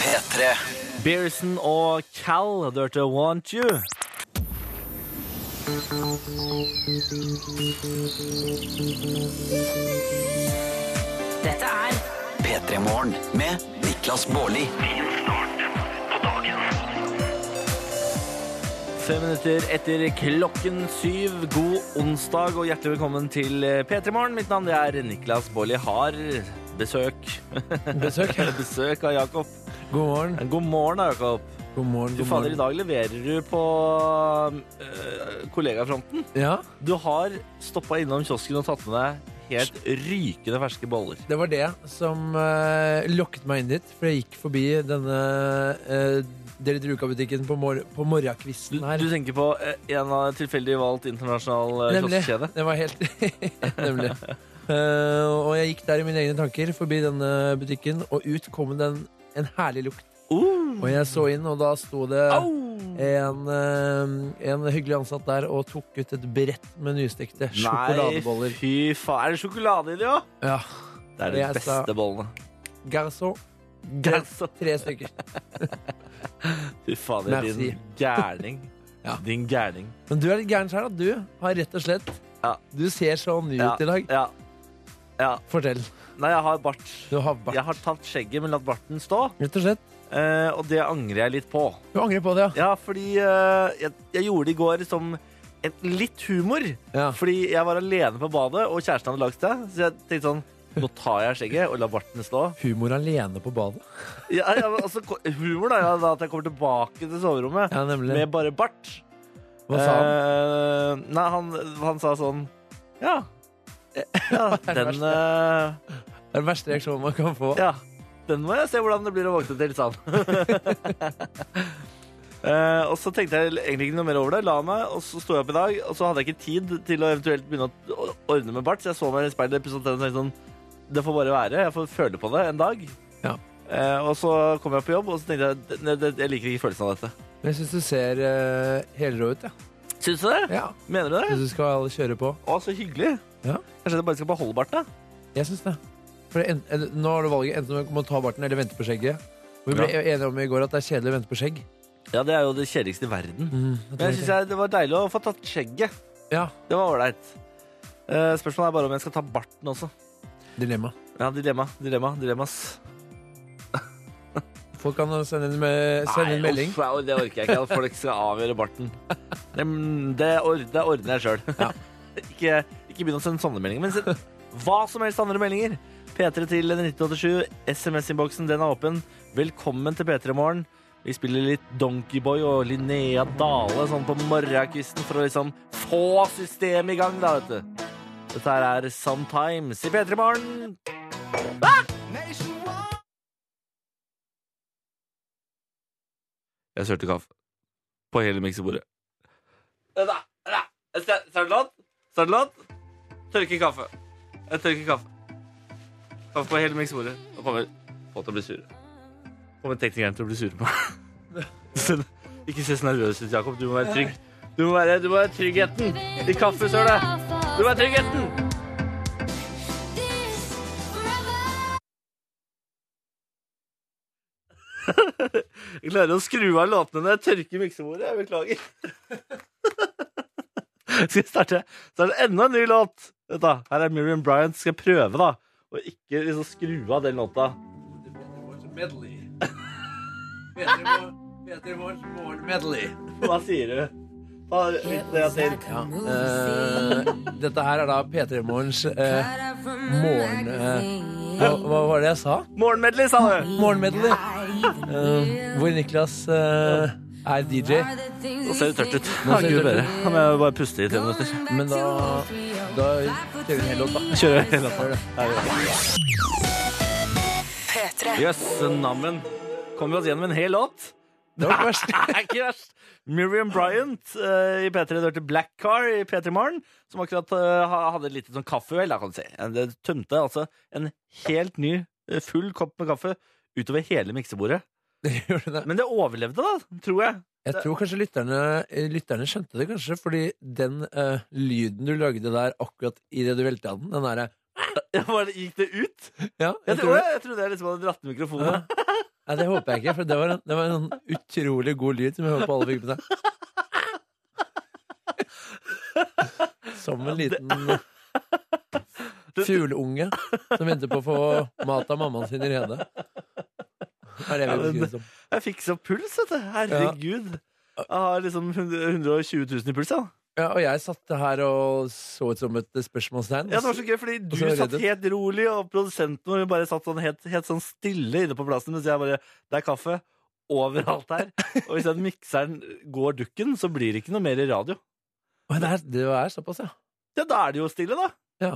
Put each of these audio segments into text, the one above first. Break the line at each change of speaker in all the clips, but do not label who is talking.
P3.
Bearson og Cal dørte Want You.
Dette er
P3 Morgen med Niklas Baarli.
Fem minutter etter klokken syv. God onsdag og hjertelig velkommen til P3 Morgen. Mitt navn det er Niklas Baarli. Har besøk.
Besøk.
besøk av Jakob.
God morgen.
God morgen, da, Jakob.
God morgen,
Du
god
fader, i
morgen.
dag leverer du på øh, kollegafronten.
Ja,
Du har stoppa innom kiosken og tatt med deg helt rykende ferske boller.
det var det som eh, lokket meg inn dit, for jeg gikk forbi denne uh, Deli Druka-butikken på, mor på
Du,
morgenkvisten her.
du tenker på eh, en av tilfeldig valgt internasjonal eh,
Nemlig.
kioskkjede?
Det var helt Nemlig. Eh, og jeg gikk der i mine egne tanker, forbi denne butikken, og ut kom det en, en herlig lukt.
Uh,
Og jeg så inn, og da sto det
au!
en, eh, en hyggelig ansatt der og tok ut et brett med nystekte
Nei,
sjokoladeboller.
fy faen. Er det sjokolade i det òg?
Ja.
Det er de
Jeg
beste
sa-
bollene.
Garçon. Tre,
Gasset.
tre stykker.
Fy fader,
Merci.
din gærning.
Ja.
Din gærning.
Men du er litt gæren sjøl, da. Du har rett og slett
Ja.
Du ser så ny
Ja,
ut i dag.
ja. ja.
Fortell.
Nei, jeg har bart.
Du har bart.
Jeg har tatt skjegget, men latt barten stå.
Rett og slett.
eh, og det angrer jeg litt på.
Du angrer på det, ja.
Ja, fordi eh, jeg, jeg gjorde det i går som en, litt humor.
ja.
Fordi jeg var alene på badet, og kjæresten hadde lagt seg. Så jeg tenkte sånn Nå tar jeg skjegget og lar barten stå.
Humor alene på badet.
Ja, ja, men altså, ko- humor, da. Ja, da at jeg kommer tilbake til soverommet
Ja, nemlig.
med bare bart.
Hva sa han?
Eh, nei, han, han sa sånn Ja. ja den eh,
Det er den verste reaksjonen man kan få.
Ja. Den må jeg se hvordan det blir å våkne til, sa han. Eh, og så tenkte jeg egentlig ikke noe mer over det. La meg, og så sto jeg opp i dag, og så hadde jeg ikke tid til å eventuelt begynne å å ordne med bart, så jeg så meg i speilet pusset tennene, og tenkte sånn Det får bare være. Jeg får føle på det en dag.
Ja.
Eh, og så kom jeg på jobb, og så tenkte jeg "Ne, det- Jeg liker ikke følelsen av dette.
Men jeg syns du ser eh, helrå ut, ja.
Syns du det?
ja.
Mener du det?
Jeg syns du skal kjøre på.
Å, så hyggelig.
Ja.
Kanskje jeg bare skal beholde barten? da?
Jeg syns det. For det en, eller, nå har du valget enten om å ta barten eller vente på skjegget. Og vi ble enige om i går at det er kjedelig å vente på skjegg.
Ja, det er jo det kjedeligste i verden.
Mm,
Men jeg synes jeg, det var deilig å få tatt skjegget.
Ja,
Det var ålreit. Eh, Spørsmålet er bare om jeg skal ta barten også.
dilemma.
Ja, dilemma, dilemma, dilemmas.
Folk kan sende inn, med, sende inn melding.
uff, au, det orker jeg ikke. at Folk skal avgjøre barten. Det, det, or- det ordner jeg sjøl.
Ja.
ikke, ikke begynn å sende sånne meldinger. Men send hva som helst andre meldinger. P3 til 1987. SMS-innboksen, den er åpen. Velkommen til P3 Morgen. Vi spiller litt Donkeyboy og Linnea Dale sånn på morgenkvisten for å liksom få systemet i gang, da, vet du. Dette her er Sometimes i P3 Morgen. Jeg sørte kaffe på hele miksebordet. Startlåt? Startlåt? Tørke kaffe. Jeg tørker kaffe. Kaffe på hele miksebordet. Nå kommer folk til å bli sure. Kommer teknikeren til å bli sure på meg. Men Ikke se så nervøs ut, Jakob. Du må være trygg. Du må være, du må være tryggheten i kaffesølet. Du må være tryggheten! Jeg klarer å skru av låtene når jeg tørker miksebordet. Jeg beklager. skal jeg starte Så er det enda en ny låt? Vet du, her er Miriam Bryant. Skal jeg prøve da å ikke liksom skru av den låta?
Medley. Peter Morgens morgen-medley.
Hva sier du? Ta litt det til. eh,
Eh, dette her er da P3 Morgens eh, morgen... Eh, hva, hva var det jeg sa?
Morgenmedley, sa du.
Morgenmedley. Eh, hvor Niklas eh, er DJ.
Nå ser du tørt ut.
Nå ser
Gud
du tørt ut.
bedre. Da må jeg bare puste i tre minutter.
Men da, da kjører vi en hel låt, da.
Kjører hele låta.
Gjør det.
Jøss, nammen. Kommer vi oss gjennom en hel låt?
Det var ikke verst.
Det er ikke verst. Miriam Bryant eh, i P3 dørte Black Car i P3 Morgen, som akkurat eh, ha- hadde et lite sånn kaffeuhell, da, kan du si. Eh, Det tømte altså en helt ny, eh, full kopp med kaffe utover hele miksebordet.
Gjør det det?
Men det overlevde, da, tror jeg.
Jeg tror kanskje lytterne, eh, lytterne skjønte det, kanskje. Fordi den eh, lyden du lagde der akkurat idet du velta den, den derre
Bare gikk det ut?
ja,
Jeg tror det. Jeg trodde jeg liksom hadde dratt ned mikrofonen.
Nei, det håper jeg ikke, for det var en, det var en sånn utrolig god lyd som jeg hørte på alle filmene. Som en liten fugleunge som venter på å få mat av mammaen sin i rede. Er det vi
Ja, men
beskriver det som.
Jeg fikk så puls, vet du. Herregud. Jeg har liksom 120 000 i puls, ja.
Ja, og jeg satt her og så ut som et spørsmålstegn.
Ja, det var så gøy, fordi du
så var jeg
satt
redd.
helt rolig, og produsenten vår bare satt sånn helt, helt sånn stille inne på plassen, mens jeg bare Det er kaffe overalt her. Og hvis den mikseren går dukken, så blir det ikke noe mer i radio.
Å, det, er, det er såpass, ja.
Ja, da er det jo stille, da.
ja.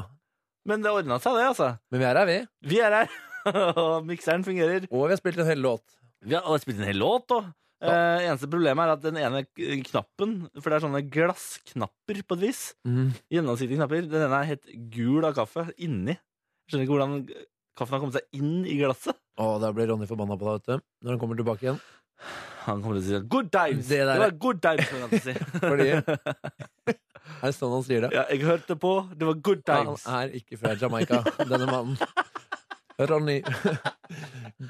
Men det ordna seg, det, altså.
Men vi er her, vi.
Vi er her, og mikseren fungerer.
Og vi har spilt en hel låt.
Vi har og spilt en hel låt, da. Eh, eneste problemet er at den ene k- knappen For det er sånne glassknapper, på et vis.
Mhm.
Gjennomsiktige knapper. Den ene er helt gul av kaffe inni. Jeg skjønner ikke hvordan kaffen har kommet seg inn i glasset.
Å, da blir Ronny forbanna på deg, vet du. Når han kommer tilbake igjen.
Han kommer til å si sånn, 'good times'.
Det
Det,
der-
var good times, som han til å si.
Fordi Er det sånn han sier det?
Ja, jeg hørte på, det var good times.
Han er ikke fra Jamaica, denne mannen. Ronny.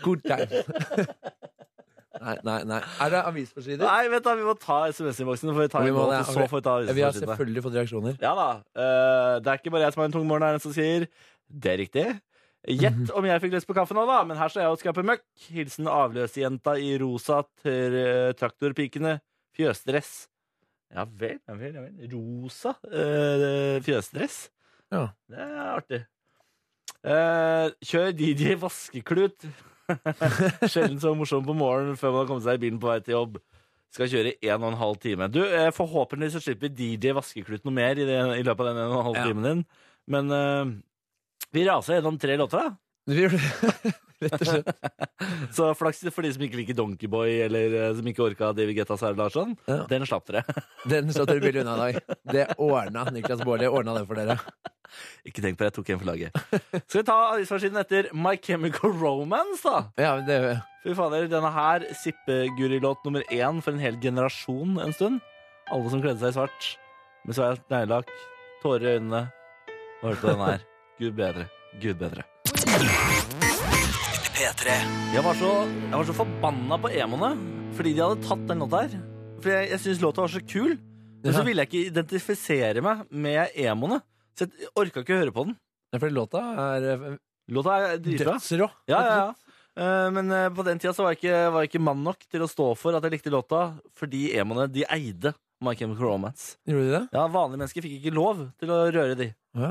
Good time. Nei, nei, nei. Er det avisforsider?
Nei, vet du, vi må ta SMS-innboksen, for vi tar
Vi
en
må
låt,
det,
og så
ok.
får vi ta
Vi har
SMS-innboksen.
selvfølgelig fått reaksjoner.
Ja da. eh, det er ikke bare jeg som har en tung morgen, er det en som sier. Det er riktig. Gjett om jeg fikk lyst på kaffe nå, da, men her står jeg og skaper møkk. Hilsen avløsejenta i rosa til eh, traktorpikene. Fjøsdress. Ja vel, ja vel. Ja vel. Rosa eh, fjøsdress.
Ja.
Det er artig. Eh, kjør DJ Vaskeklut. Sjelden så morsom på morgenen før man har kommet seg i bilen på vei til jobb. Skal kjøre i en og en halv time. Du, eh, Forhåpentligvis så slipper DJ Vaskeklut noe mer i, det, i løpet av den en og en halv
Ja.
timen din. Men eh, vi raser gjennom tre låter, da.
Vi gjør det. Rett og slett.
Så flaks for de som ikke liker Donkeyboy, eller eh, som ikke orka David Guetta Sverre Larsson.
Ja.
Den slapp dere.
Den satt dere billig unna i dag. Det ordna Niklas Baarli. Ordna det for dere.
ikke tenk på det, jeg tok en for laget. Skal vi ta avisforsiden etter My Chemical Romance, da?
Ja, men det
Fy fader, denne her, Sippeguri-låt nummer én for en hel generasjon en stund. Alle som kledde seg i svart, med svært neglelakk, tårer i øynene. Nå hørte du den her. Gud bedre. Gud bedre.
P3.
Jeg var så, jeg var så forbanna på emoene fordi de hadde tatt den låta her. For jeg, jeg syns låta var så kul, men så
Ja.
ville jeg ikke identifisere meg med emoene. Så jeg orka ikke å høre på den.
er fordi låta er eh,
Låta er dritbra.
dødsrå.
Ja, ja, ja. Eh, Men eh, på den tida så var jeg, ikke, var jeg ikke mann nok til å stå for at jeg likte låta, fordi emoene de eide My Chemical Romance.
Gjorde de det?
Ja, Vanlige mennesker fikk ikke lov til å røre de.
Å Ja.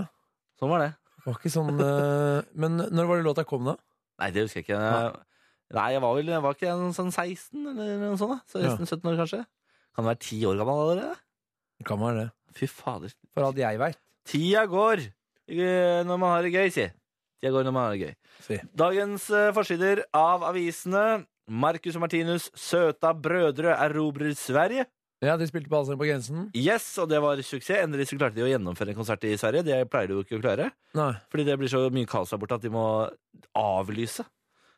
Sånn var det.
Det var ikke sånn eh, Men når var det låta kom, da?
Nei, det husker jeg ikke. Jeg- Nei, jeg var vel jeg var ikke en sånn 16 eller noe sånt. da. Så
Ja.
16-17 år, kanskje. Kan være 10 år gammel allerede.
Det kan være det.
Fy fader.
For alt jeg veit.
Tida går eh, når man har det gøy, si. Tida går når man har det gøy.
Si.
Dagens eh, forsider av avisene. Marcus og Martinus' søta brødre erobrer Sverige.
Ja, de spilte på Allsang på grensen.
Yes, og det var suksess. Endelig så klarte de å gjennomføre en konsert i Sverige. Det pleier de jo ikke å klare,
Nei.
fordi det blir så mye kaos der borte at de må avlyse.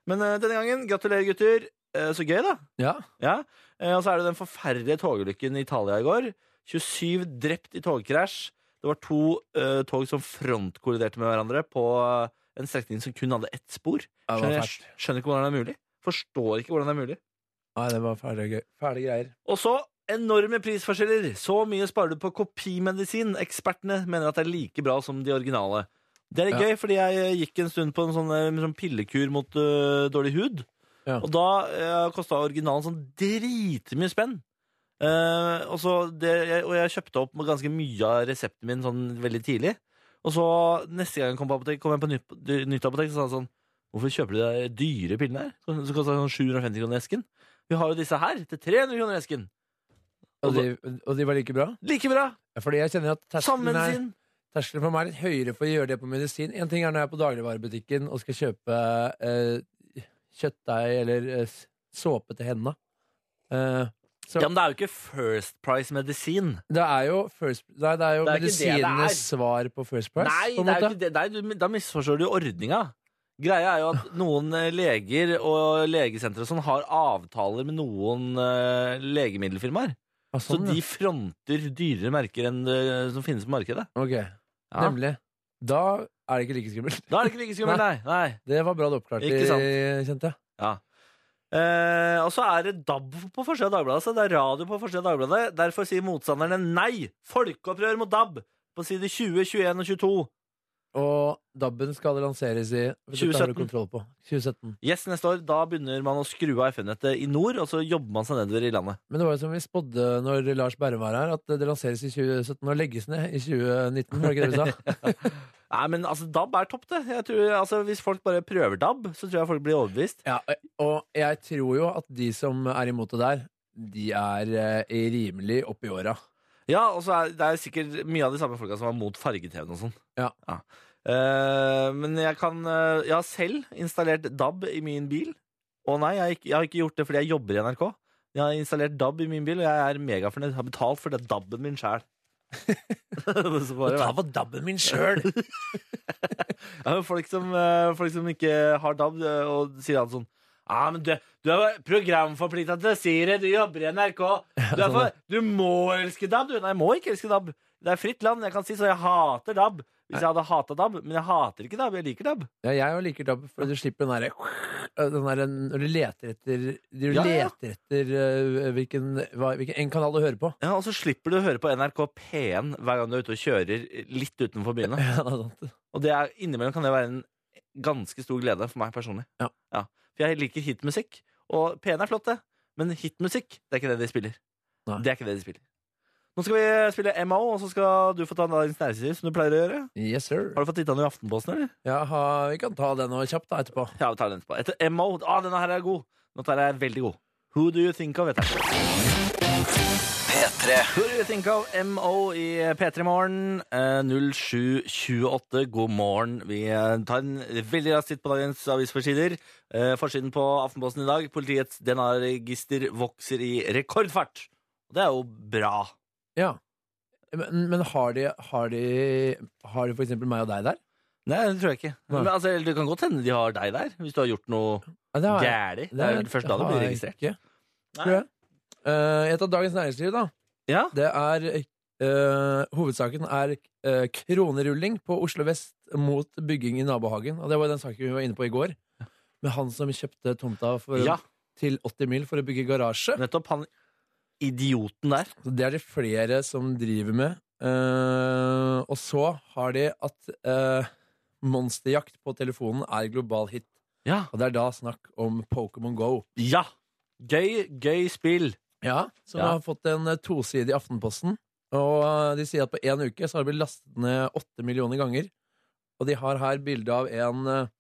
Men eh, denne gangen, gratulerer gutter. Eh, så gøy, da.
Ja.
Ja. Eh, og så er det den forferdelige togulykken i Italia i går. 27 drept i togkrasj. Det var to eh, tog som frontkolliderte med hverandre på eh, en strekning som kun hadde ett spor.
Ja, det var
Skjønner,
fælt.
jeg skjønner ikke hvordan det er mulig. Forstår ikke hvordan det er mulig.
Nei, det var fæle, gøy. fæle greier.
Og så enorme prisforskjeller. Så mye sparer du på kopimedisin. Ekspertene mener at det er like bra som de originale. Det er litt
Ja.
gøy, fordi jeg eh, gikk en stund på en sånn, eh, sånn pillekur mot eh, dårlig hud.
Ja.
Og da uh, kosta originalen sånn dritmye spenn. Eh, og, så det, jeg, og jeg kjøpte opp ganske mye av resepten min sånn veldig tidlig. Og så neste gang jeg kom på apotek, kom jeg på nytt, nytt apotek, så sa han sånn Hvorfor kjøper du de dyre pillene her? Så så kosta det sånn 750 kroner esken. Vi har jo disse her til 300 kroner esken.
Og de,
Altså-
og de var like bra?
Like bra!
Ja, Fordi jeg kjenner at
Samme
terskelen er,
medisin.
terskelen for meg er litt høyere for å gjøre det på medisin. En ting er når jeg er på dagligvarebutikken og skal kjøpe eh, kjøttdeig eller eh, s- såpe til henda. Eh, så
Ja, men det er jo ikke First Price-medisin.
det er jo, first, nei, det er jo
Det er ikke det det er.
medisinenes svar på First Price,
Nei,
på en
det er jo
måte.
ikke det. Nei, du, da misforstår du ordninga. Greia er jo at noen eh, leger og legesentre og sånn har avtaler med noen eh, legemiddelfirmaer.
Ah,
Så
sånn,
de
ja.
fronter dyrere merker enn det som finnes på markedet.
Ok,
Ja.
Nemlig. Da er det ikke like skummelt.
Da er det ikke like skummelt, nei. nei.
Det var bra du oppklarte,
Ikke sant.
kjente jeg.
Eh, og så er det DAB på forsida av Dagbladet. Så det er radio på forsida av Dagbladet. Derfor sier motstanderne nei! Folkeopprør mot DAB! På side 20, 21 og 22.
Og DAB-en skal lanseres i Dette
2017.
har du kontroll på. 2017.
Yes, neste år. Da begynner man å skru av FN-nettet i nord, og så jobber man seg nedover i landet.
Men det var jo som vi spådde når Lars Berrum var her, at det lanseres i 2017 og legges ned i 2019. Var det ikke det vi sa?
Nei, men altså, DAB er topp, det. Jeg tror, altså, hvis folk bare prøver DAB, så tror jeg folk blir overbevist.
Ja, og jeg tror jo at de som er imot det der, de er eh, rimelig opp i åra.
Ja, og så er det er sikkert mye av de samme folka som var mot farge-TV-en og sånn.
Ja.
Eh, men jeg kan eh, Jeg har selv installert DAB i min bil. Å nei, jeg har, ikke, jeg har ikke gjort det fordi jeg jobber i NRK. Jeg har installert DAB i min bil, og jeg er megafornøyd. Jeg har betalt for det DAB-en min sjæl.
på DAB-en min sjøl!
Ja, men folk, som, eh, folk som ikke har DAB, eh, og sier alt sånn Ja, men du, du er programforplikta til å si det, du jobber i NRK. Du, er for, du må elske DAB, du. Nei, jeg må ikke elske DAB. Det er fritt land, jeg kan si så jeg hater DAB. Hvis jeg hadde hata DAB, men jeg hater ikke DAB, jeg liker DAB.
Ja, jeg jo liker DAB, for du slipper den derre den der, Når du leter etter Du
Ja, ja.
leter etter eh, hvilken, hva, hvilken en kanal du hører på.
Ja, Og så slipper du å høre på NRK P1 hver gang du er ute og kjører litt utenfor byene.
Ja, det er sant.
Og det er, innimellom kan det være en ganske stor glede for meg personlig.
Ja.
For jeg liker hitmusikk, og P1 er flott, det. Men hitmusikk, det er ikke det de spiller.
Nei.
Det er ikke det de spiller. Nå skal vi spille MO, og så skal du få ta dagens næringsliv, som du pleier å gjøre.
Yes, sir.
Har du fått titta noe i Aftenposten, eller?
Ja, ha, vi kan ta den nå kjapt da, etterpå.
Ja, vi tar den etterpå. Etter MO. Ah, denne her er god. Denne her er veldig god. Who do you think of? Vet jeg.
P3.
Who do you think of MO i P3 Morgen? Eh, 0728, god morgen. Vi eh, tar en veldig rask titt på dagens avisforsider. Eh, forsiden på Aftenposten i dag. Politiets DNA-register vokser i rekordfart. Og det er jo bra.
Ja. Men, men har de, har de Har de for eksempel meg og deg der?
Nei, det tror jeg ikke.
Nei.
Men, altså, eller det kan godt hende de har deg der, hvis du har gjort noe
Ja, det har jeg.
gærent. Det er vel først da det
har
blir
jeg
registrert.
ikke, tror jeg. Eh, jeg tar Dagens Næringsliv, da.
Ja.
Det er eh, Hovedsaken er eh, kronerulling på Oslo vest mot bygging i nabohagen. Og det var den saken vi var inne på i går. Med han som kjøpte tomta for,
ja,
til 80 mil for å bygge garasje.
nettopp. Han idioten der.
Så det er det flere som driver med. Eh, og så har de at eh, monsterjakt på telefonen er global hit.
Ja.
Og det er da snakk om Pokémon Go.
ja. Gøy, gøy spill.
Ja, som
Ja.
har fått en eh, toside i Aftenposten. Og eh, de sier at på én uke så har det blitt lastet ned åtte millioner ganger. Og de har her bilde av en eh,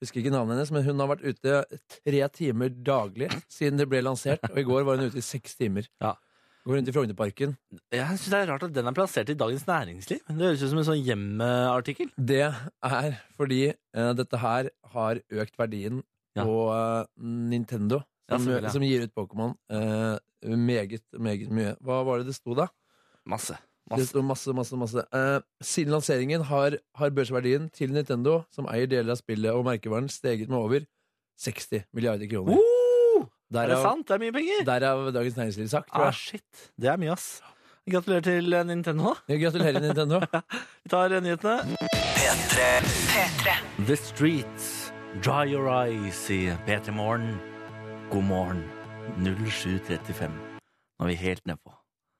Husker ikke navnet hennes, men hun har vært ute tre timer daglig siden det ble lansert. Og i går var hun ute i seks timer.
Ja.
Går rundt i Frognerparken.
Jeg synes det er rart at den er plassert i Dagens Næringsliv. Det høres ut som en sånn hjemmeartikkel.
Det er fordi eh, dette her har økt verdien
Ja.
på eh, Nintendo,
Ja,
som,
selvfølgelig.
som gir ut Pokémon eh, meget, meget mye. Hva var det det sto da?
Masse.
Det står masse, masse, masse. Eh, siden lanseringen har, har børsverdien til Nintendo, som eier deler av spillet og merkevaren, steget med over 60 milliarder kroner.
Uh, er det
Derav,
sant? Det er mye penger!
derav Dagens Næringsliv sagt, tror
Ah,
jeg.
shit. Det er mye, ass. Gratulerer til eh, Nintendo. da.
Gratulerer, Nintendo.
Vi tar eh, nyhetene.
P3.
The Streets. Dry your eyes i P3 Morgen. God morgen. 07.35. Nå er vi helt nedpå.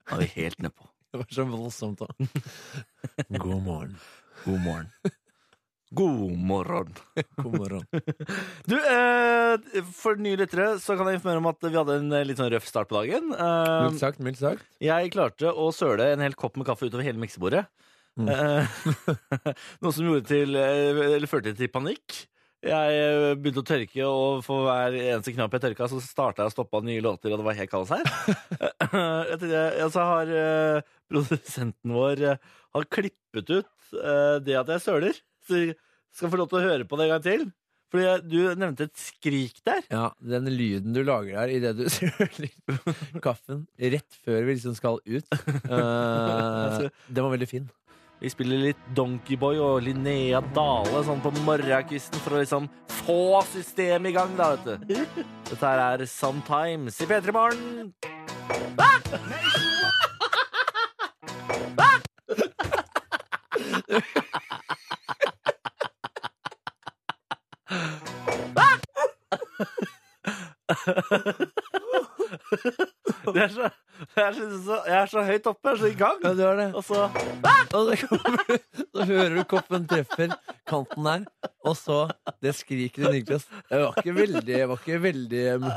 Nå er vi helt nedpå.
Det var så voldsomt, da. God morgen.
God morgen. God morgen.
God morgen.
Du, eh, for nye lyttere så kan jeg informere om at vi hadde en eh, litt sånn røff start på dagen. Eh,
Mildt sagt, mildt sagt.
Jeg klarte å søle en hel kopp med kaffe utover hele miksebordet.
Mm.
Eh, Noe som gjorde til, eh, eller førte til panikk. Jeg eh, begynte å tørke, og for hver eneste knapp jeg tørka, så starta jeg og stoppa nye låter, og det var helt kaos her. Eh, Etter det ja, så har eh, produsenten vår eh, har klippet ut eh, det at jeg søler. Så jeg skal få lov til å høre på det en gang til. Fordi jeg- du nevnte et skrik der.
Ja, den lyden du lager der idet du søler kaffen rett før vi liksom skal ut,
Altså,
eh, den var veldig fin.
Vi spiller litt Donkeyboy og Linnea Dale sånn på morgenkvisten for å liksom få systemet i gang, da, vet du. Dette her er Sometimes i P3 Morgen. Det er så, jeg, er så, jeg er så høyt oppe, jeg er så i gang.
Ja, du er det.
Og så
Og så, kommer, så hører du koppen treffer kanten der, og så det skriket til Niklas. Det var ikke veldig, det var ikke veldig um,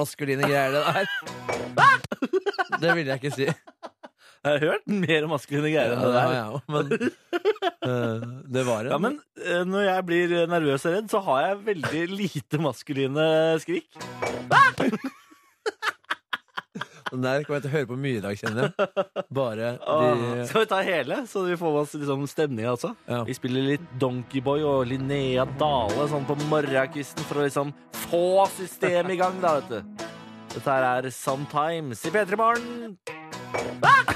maskuline greier, det der. Det ville jeg ikke si.
Jeg har hørt mer maskuline greier enn det
Ja,
der.
ja, men eh, det var en
Ja, men eh, når jeg blir nervøs og redd, så har jeg veldig lite maskuline skrik.
Den der kommer jeg til å høre på mye i dag, kjenner jeg. Bare
Åh,
de
Skal vi ta hele, så vi får med oss liksom, stemninga også?
Ja.
Vi spiller litt Donkeyboy og Linnea Dale sånn på morgenkvisten for å liksom få systemet i gang, da, vet du. Dette her er Sometimes i P3 Morgen.
Ah!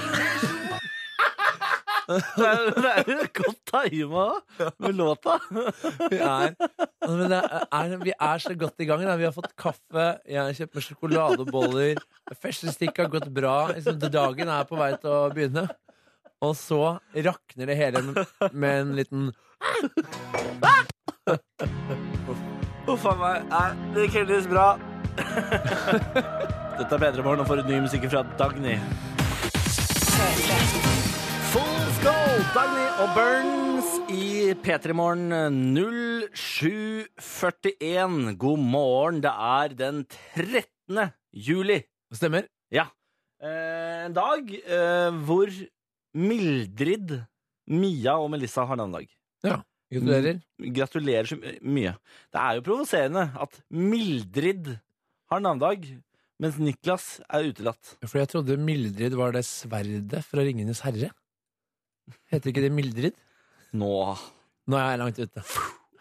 Det er det er jo godt tima med låta.
vi er, altså, men det er, vi er så godt i gang. Da. Vi har fått kaffe, jeg har kjøpt med sjokoladeboller. Første stikk har gått bra. Liksom, dagen er på vei til å begynne. Og så rakner det hele med, med en liten
Huff a meg. Nei, det kreves bra. Dette er P3 Morgen, og får du ny musikk fra Dagny. Fool's Gold, Dagny og Burns i P3 Morgen eh, 0741. God morgen, det er den 13. juli.
Stemmer?
Ja. Eh, en dag eh, hvor Mildrid, Mia og Melissa har navnedag.
Gratulerer.
Mm. Gratulerer så mye. Det er jo provoserende at Mildrid har navnedag, mens Niklas er utelatt.
For jeg trodde Mildrid var det sverdet fra Ringenes herre. Heter ikke det Mildrid?
Nå
Nå er jeg langt ute.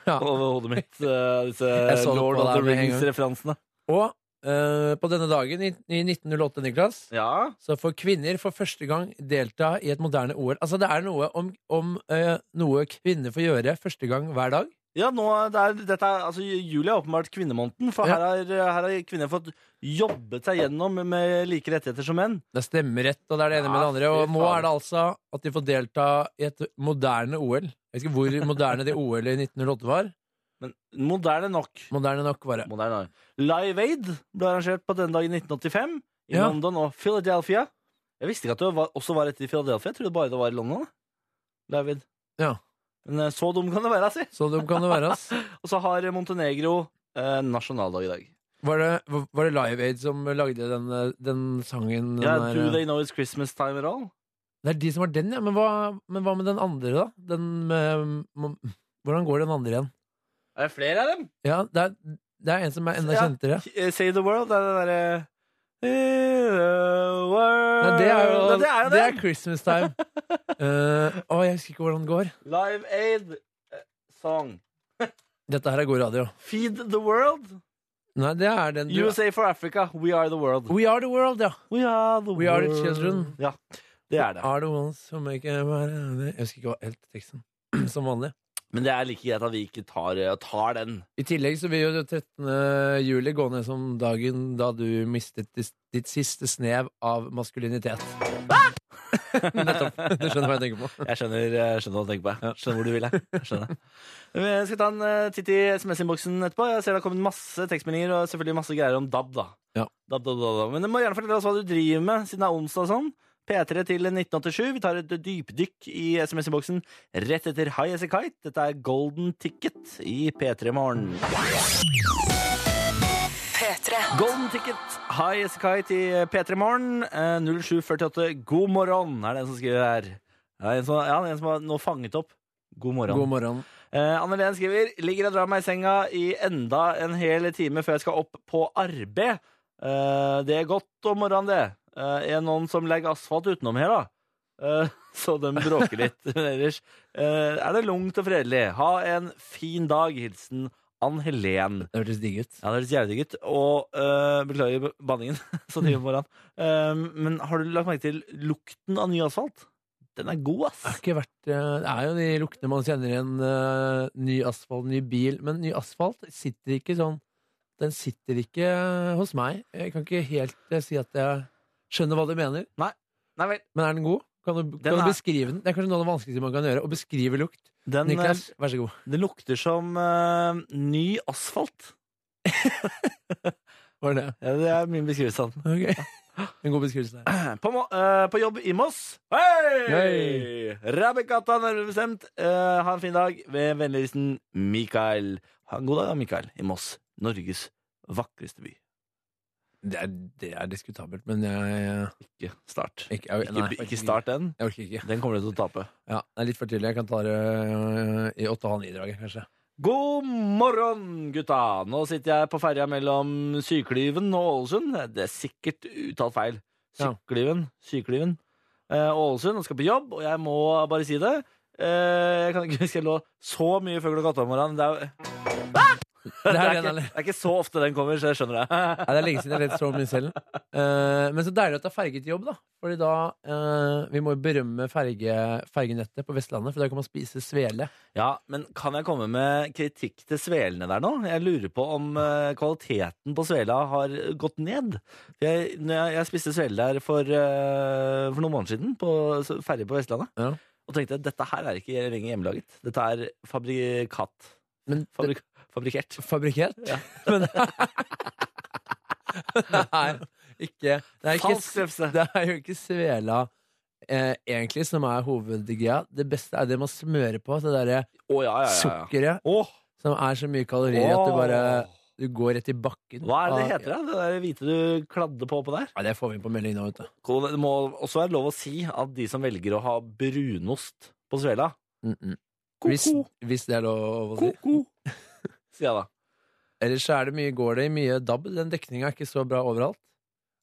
Ja.
over hodet mitt, eh, disse
så det på
Lord of the
deg med en gang.
Rings-referansene.
Og eh, på denne dagen i, i 1908, Niklas,
Ja.
så får kvinner for første gang delta i et moderne OL. Altså Det er noe om, om eh, noe kvinner får gjøre første gang hver dag.
ja, nå det er, dette er, altså, juli er åpenbart kvinnemåneden, for
Ja.
her har- her har kvinner fått jobbet seg gjennom med like rettigheter som menn.
Det er stemmerett, og det er det ene med det
Ja,
andre. Og
fy
nå
faen.
er det altså at de får delta i et moderne OL. Jeg vet ikke hvor moderne det OL i 1908 var.
Men moderne nok.
Moderne nok, var det.
Moderne. Live Aid ble arrangert på denne dagen i 1985 i
Ja.
London og Philadelphia. Jeg visste ikke at det var, også var etter Philadelphia. Jeg trodde bare det var i London. da. Live Aid.
Ja.
Men eh, så dum kan det være, si.
Så dum kan det være, ass.
Og så har Montenegro eh, nasjonaldag i dag.
Var det, var det Live Aid som lagde den, eh, den sangen? Den
Ja,
der,
Do
eh,
they know it's Christmas time at all?
Det er de som har den, ja. Men hva, men hva med den andre, da? Den med mm, Hvordan går den andre igjen?
Er det flere av dem?
Ja, det er, det er en som er enda
Ja.
kjentere.
Eh, Say the world det er det derre World
Nei, det er jo,
Nei, det er jo
det
den.
er Christmas time. Eh, å, jeg husker ikke hvordan det går.
Live Aid eh, song.
Dette her er god radio.
Feed the world.
Nei, det er den du
USA for Africa. We are the world.
We are the world, ja.
We are the,
We are the
world.
children.
Ja, det er det.
Are the ones who make it better. Jeg husker ikke hva helt teksten. Som vanlig.
Men det er like greit at vi ikke tar, eh, tar den.
I tillegg så vil jo det 13. juli gå ned som dagen da du mistet dis- ditt siste snev av maskulinitet. Nettopp. Du skjønner hva jeg tenker på.
Jeg skjønner, eh, jeg skjønner hva du tenker på. Jeg. Skjønner hvor du vil. Jeg. Jeg skjønner. Jeg skal ta en eh, titt i SMS-innboksen etterpå. Jeg ser det har kommet masse tekstmeldinger og selvfølgelig masse greier om DAB. da.
Ja.
DAB, DAB, DAB, DAB. Men du må gjerne fortelle oss hva du driver med, siden det er onsdag og sånn. P3 til 1987. Vi tar et dypdykk i SMS-innboksen rett etter High As A Kite. Dette er Golden Ticket i P3 Morgen.
P3.
Golden Ticket, High as a Kite i P3 Morgen. Eh, 0748, god morgen, er det en som skriver her. Det er en som, ja, det er en som har nå fanget opp. God morgen.
God morgen.
Eh, Anne Len skriver Ligger og drar meg i senga i enda en hel time før jeg skal opp på arbeid. Eh, det er godt om morgenen, det. Eh, er noen som legger asfalt utenom her, da? Eh, så de bråker litt. Men ellers eh, er det lungt og fredelig. Ha en fin dag. Hilsen Ann Helen.
Det hørtes digg ut.
Ja, det høres jævlig digg ut. Og øh, beklager banningen. så tidlig på morgenen. Ehm, men har du lagt merke til lukten av ny asfalt? Den er god,
Det har
ass.
ikke vært eh, Det er jo de luktene man kjenner igjen. eh, Ny asfalt, ny bil. Men ny asfalt sitter ikke sånn Den sitter ikke eh, hos meg. Jeg kan ikke helt eh, si at jeg skjønner hva du mener.
Nei vel.
Men er den god? Kan du,
Den
kan
er-
du beskrive den? Det er kanskje noe av det vanskeligste man kan gjøre. Å beskrive lukt.
Den, eh,
Niklas, vær så god.
øh, den lukter som øh, ny asfalt.
Var det det?
Ja, det er min beskrivelse av den.
Ok. En god beskrivelse der.
På, må- eh, på jobb i Moss. Hei!
Hei!
Rabbekata, nærmere bestemt. Eh, ha en fin dag. Ved vennlig hilsen Mikael. Ha en god dag, da, Mikael, i Moss. Norges vakreste by.
Det er, det er diskutabelt, men jeg
Ikke start.
Ikke, jeg-
Ikke,
nei,
by- ikke
faktisk
start den.
Jeg orker ikke.
Den kommer du til å tape.
Ja, det er litt for tidlig. Jeg kan ta det øh, i 8,5-draget, kanskje.
God morgen, gutta. Nå sitter jeg på ferja mellom Sykliven og Ålesund. Det er sikkert uttalt feil.
Ja.
Sykliven. Sykliven. Eh, Ålesund. Jeg skal på jobb, og jeg må bare si det. Eh, jeg kan ikke huske jeg lå så mye før klokka åtte om morgenen. Det er,
Det
det,
er,
er ikke, det er ikke så ofte den kommer, så jeg skjønner det.
Nei, det er lenge siden jeg har lest så mye selv. Eh, men så deilig at det er fergejobb, da. Fordi da eh, Vi må jo berømme ferge, fergenettet på Vestlandet, for der kan man spise svele.
Ja, men kan jeg komme med kritikk til svelene der nå? Jeg lurer på om eh, kvaliteten på svela har gått ned. For Jeg, når jeg, jeg spiste svele der for, eh, for noen måneder siden, på så- ferje på Vestlandet,
Ja.
og tenkte at dette her er ikke lenger hjemmelaget. Dette er fabrikat.
Men
Fabrik, fabrikert.
fabrikkert? Men det er ikke Det er,
Falsk
ikke,
refse.
det er jo ikke svela eh, egentlig som er hovedgreia. Det beste er det man smører på. Det derre
Å, ja, ja, ja. ja.
sukkeret
Åh,
som er så mye kalorier at du bare Ah. du går rett i bakken.
Hva er det det
av-
heter, da? Det der hvite du kladde på på der?
Ja, det får vi inn på melding nå, vet du.
Det må også være lov å si at de som velger å ha brunost på svela
Mm -mm.
Ko-ko.
Hvis, hvis det er lov å si.
Ko-ko, sier jeg da.
Ellers så er det mye, går det i mye DAB. Den dekninga er ikke så bra overalt.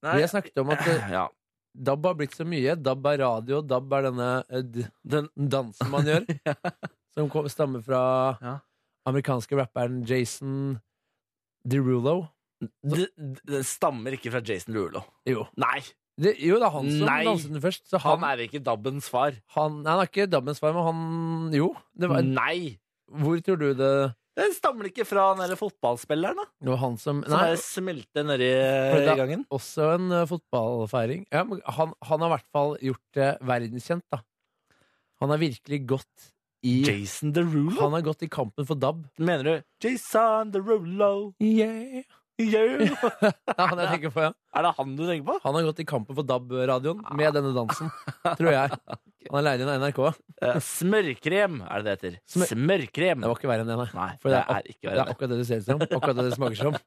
Vi har snakket om at eh,
ja.
DAB har blitt så mye. DAB er radio, DAB er denne eh, d-
Den,
dansen man gjør. Som kom, stammer fra
Ja.
amerikanske rapperen Jason DeRulo.
d- d- den stammer ikke fra Jason Rulo.
Jo.
Nei!
Det, jo, det er han som
Nei.
danset den først. Så
Han
han, han,
er ikke Dabbens far.
nei, han er ikke DAB-ens far, men han Jo. Det var,
Nei!
hvor tror du det
Den stammer ikke fra den der fotballspilleren, da?
Det var han som
Som
Nei,
bare smelte nedi
For da-
i gangen?
også en eh, fotballfeiring. Ja, men han, han har i hvert fall gjort det verdenskjent, da. Han har virkelig gått i
Jason Derulo?
Han har gått i kampen for DAB.
Mener du Jason Derulo, yeah.
Det er han jeg tenker på, ja.
Er det han du tenker på?
Han har gått i kampen for DAB-radioen med denne dansen, tror jeg. Han er leid inn av NRK.
Eh, Smørkrem er det det heter.
Smør-
Smørkrem.
Det var ikke verre enn det, nei.
Nei,
For
det
det er,
er ikke
det
verre
er
enn det.
akkurat det det ser ut som. Akkurat det det smaker som.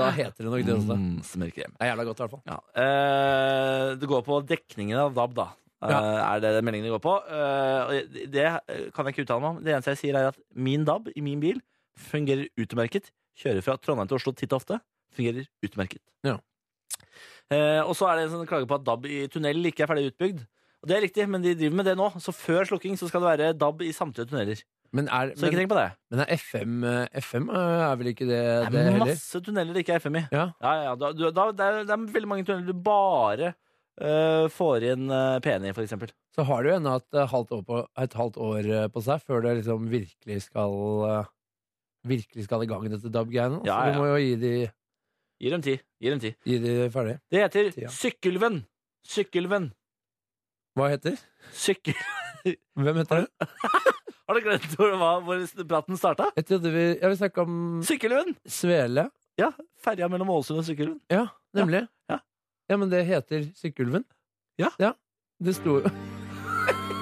Da heter det nok det også.
Mm, smørkrem.
Det er jævla godt, i hvert fall.
Ja. eh, det går på dekningen av DAB, da. Eh, Er det meldingen det går på? Eh, og det- det kan jeg ikke uttale meg om. Det eneste jeg sier, er at min DAB i min bil fungerer utmerket. Kjører fra Trondheim til Oslo titt og ofte. Fungerer utmerket.
Ja.
Eh, og så er det en sånn klage på at DAB i tunnel ikke er ferdig utbygd. Og det er riktig, men de driver med det nå. Så før slukking så skal det være DAB i samtlige tunneler.
Men er,
Så ikke
men,
tenk på det.
men er FM, eh, FM eh, er vel ikke det,
Det
det
er
heller?
masse tunneler det ikke er FM i.
Ja.
Ja, ja, da, du- da, det, er, det er veldig mange tunneler du bare eh, får inn uh, P1 i, for eksempel.
Så har du jo ennå et, eh, halvt år på- et halvt år eh, på seg før det liksom virkelig skal eh, Virkelig skal i gang, dette DAB-greiene.
Ja,
Så
ja.
du må jo gi de,
Gi dem ti. Gi dem ti.
gi de ferdig.
Det heter
Tida.
Sykkylven. Sykkylven.
Hva heter
Sykkel...
Hvem heter det?
Har du glemt hvor, det var- hvor praten starta?
Jeg trodde vi Jeg vil snakke om
Sykkylven!
Svele.
Ja, Ferja mellom Ålesund og Sykkylven.
Ja, nemlig.
Ja.
Ja, men det heter Sykkylven.
Ja.
Det sto jo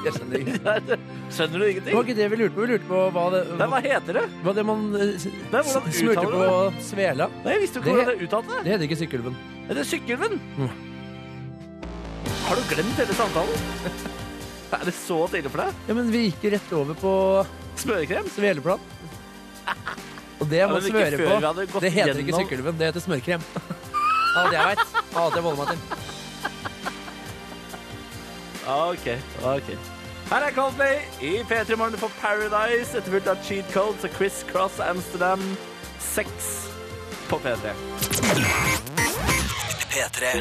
Jeg skjønner ikke.
Skjønner du
Det var
ingenting?
ikke det vi lurte på. Vi lurte på hva det,
Nei, hva heter det?
hva det man eh, s-
hvordan
s- smurte
uttaler
på svela.
Nei, Jeg visste jo
Det
ikke hvordan det uttalte.
Det heter ikke Sykkylven.
Det heter Sykkylven. Har du glemt hele samtalen? Er det så tidlig for deg?
Ja, men vi gikk jo rett over på
Smørekrem?
sveleplan. Og det jeg må
men ikke
smøre
før vi
på
hadde gått
Det heter ikke
gjennom-
Sykkylven, det heter smørkrem. Alt jeg veit. Alt jeg volder meg til.
Ok, ok. Her er Coldplay i P3 Morgen på Paradise, etterfulgt av Cheat Codes og Chris Cross Amsterdam 6 på P3.
P3.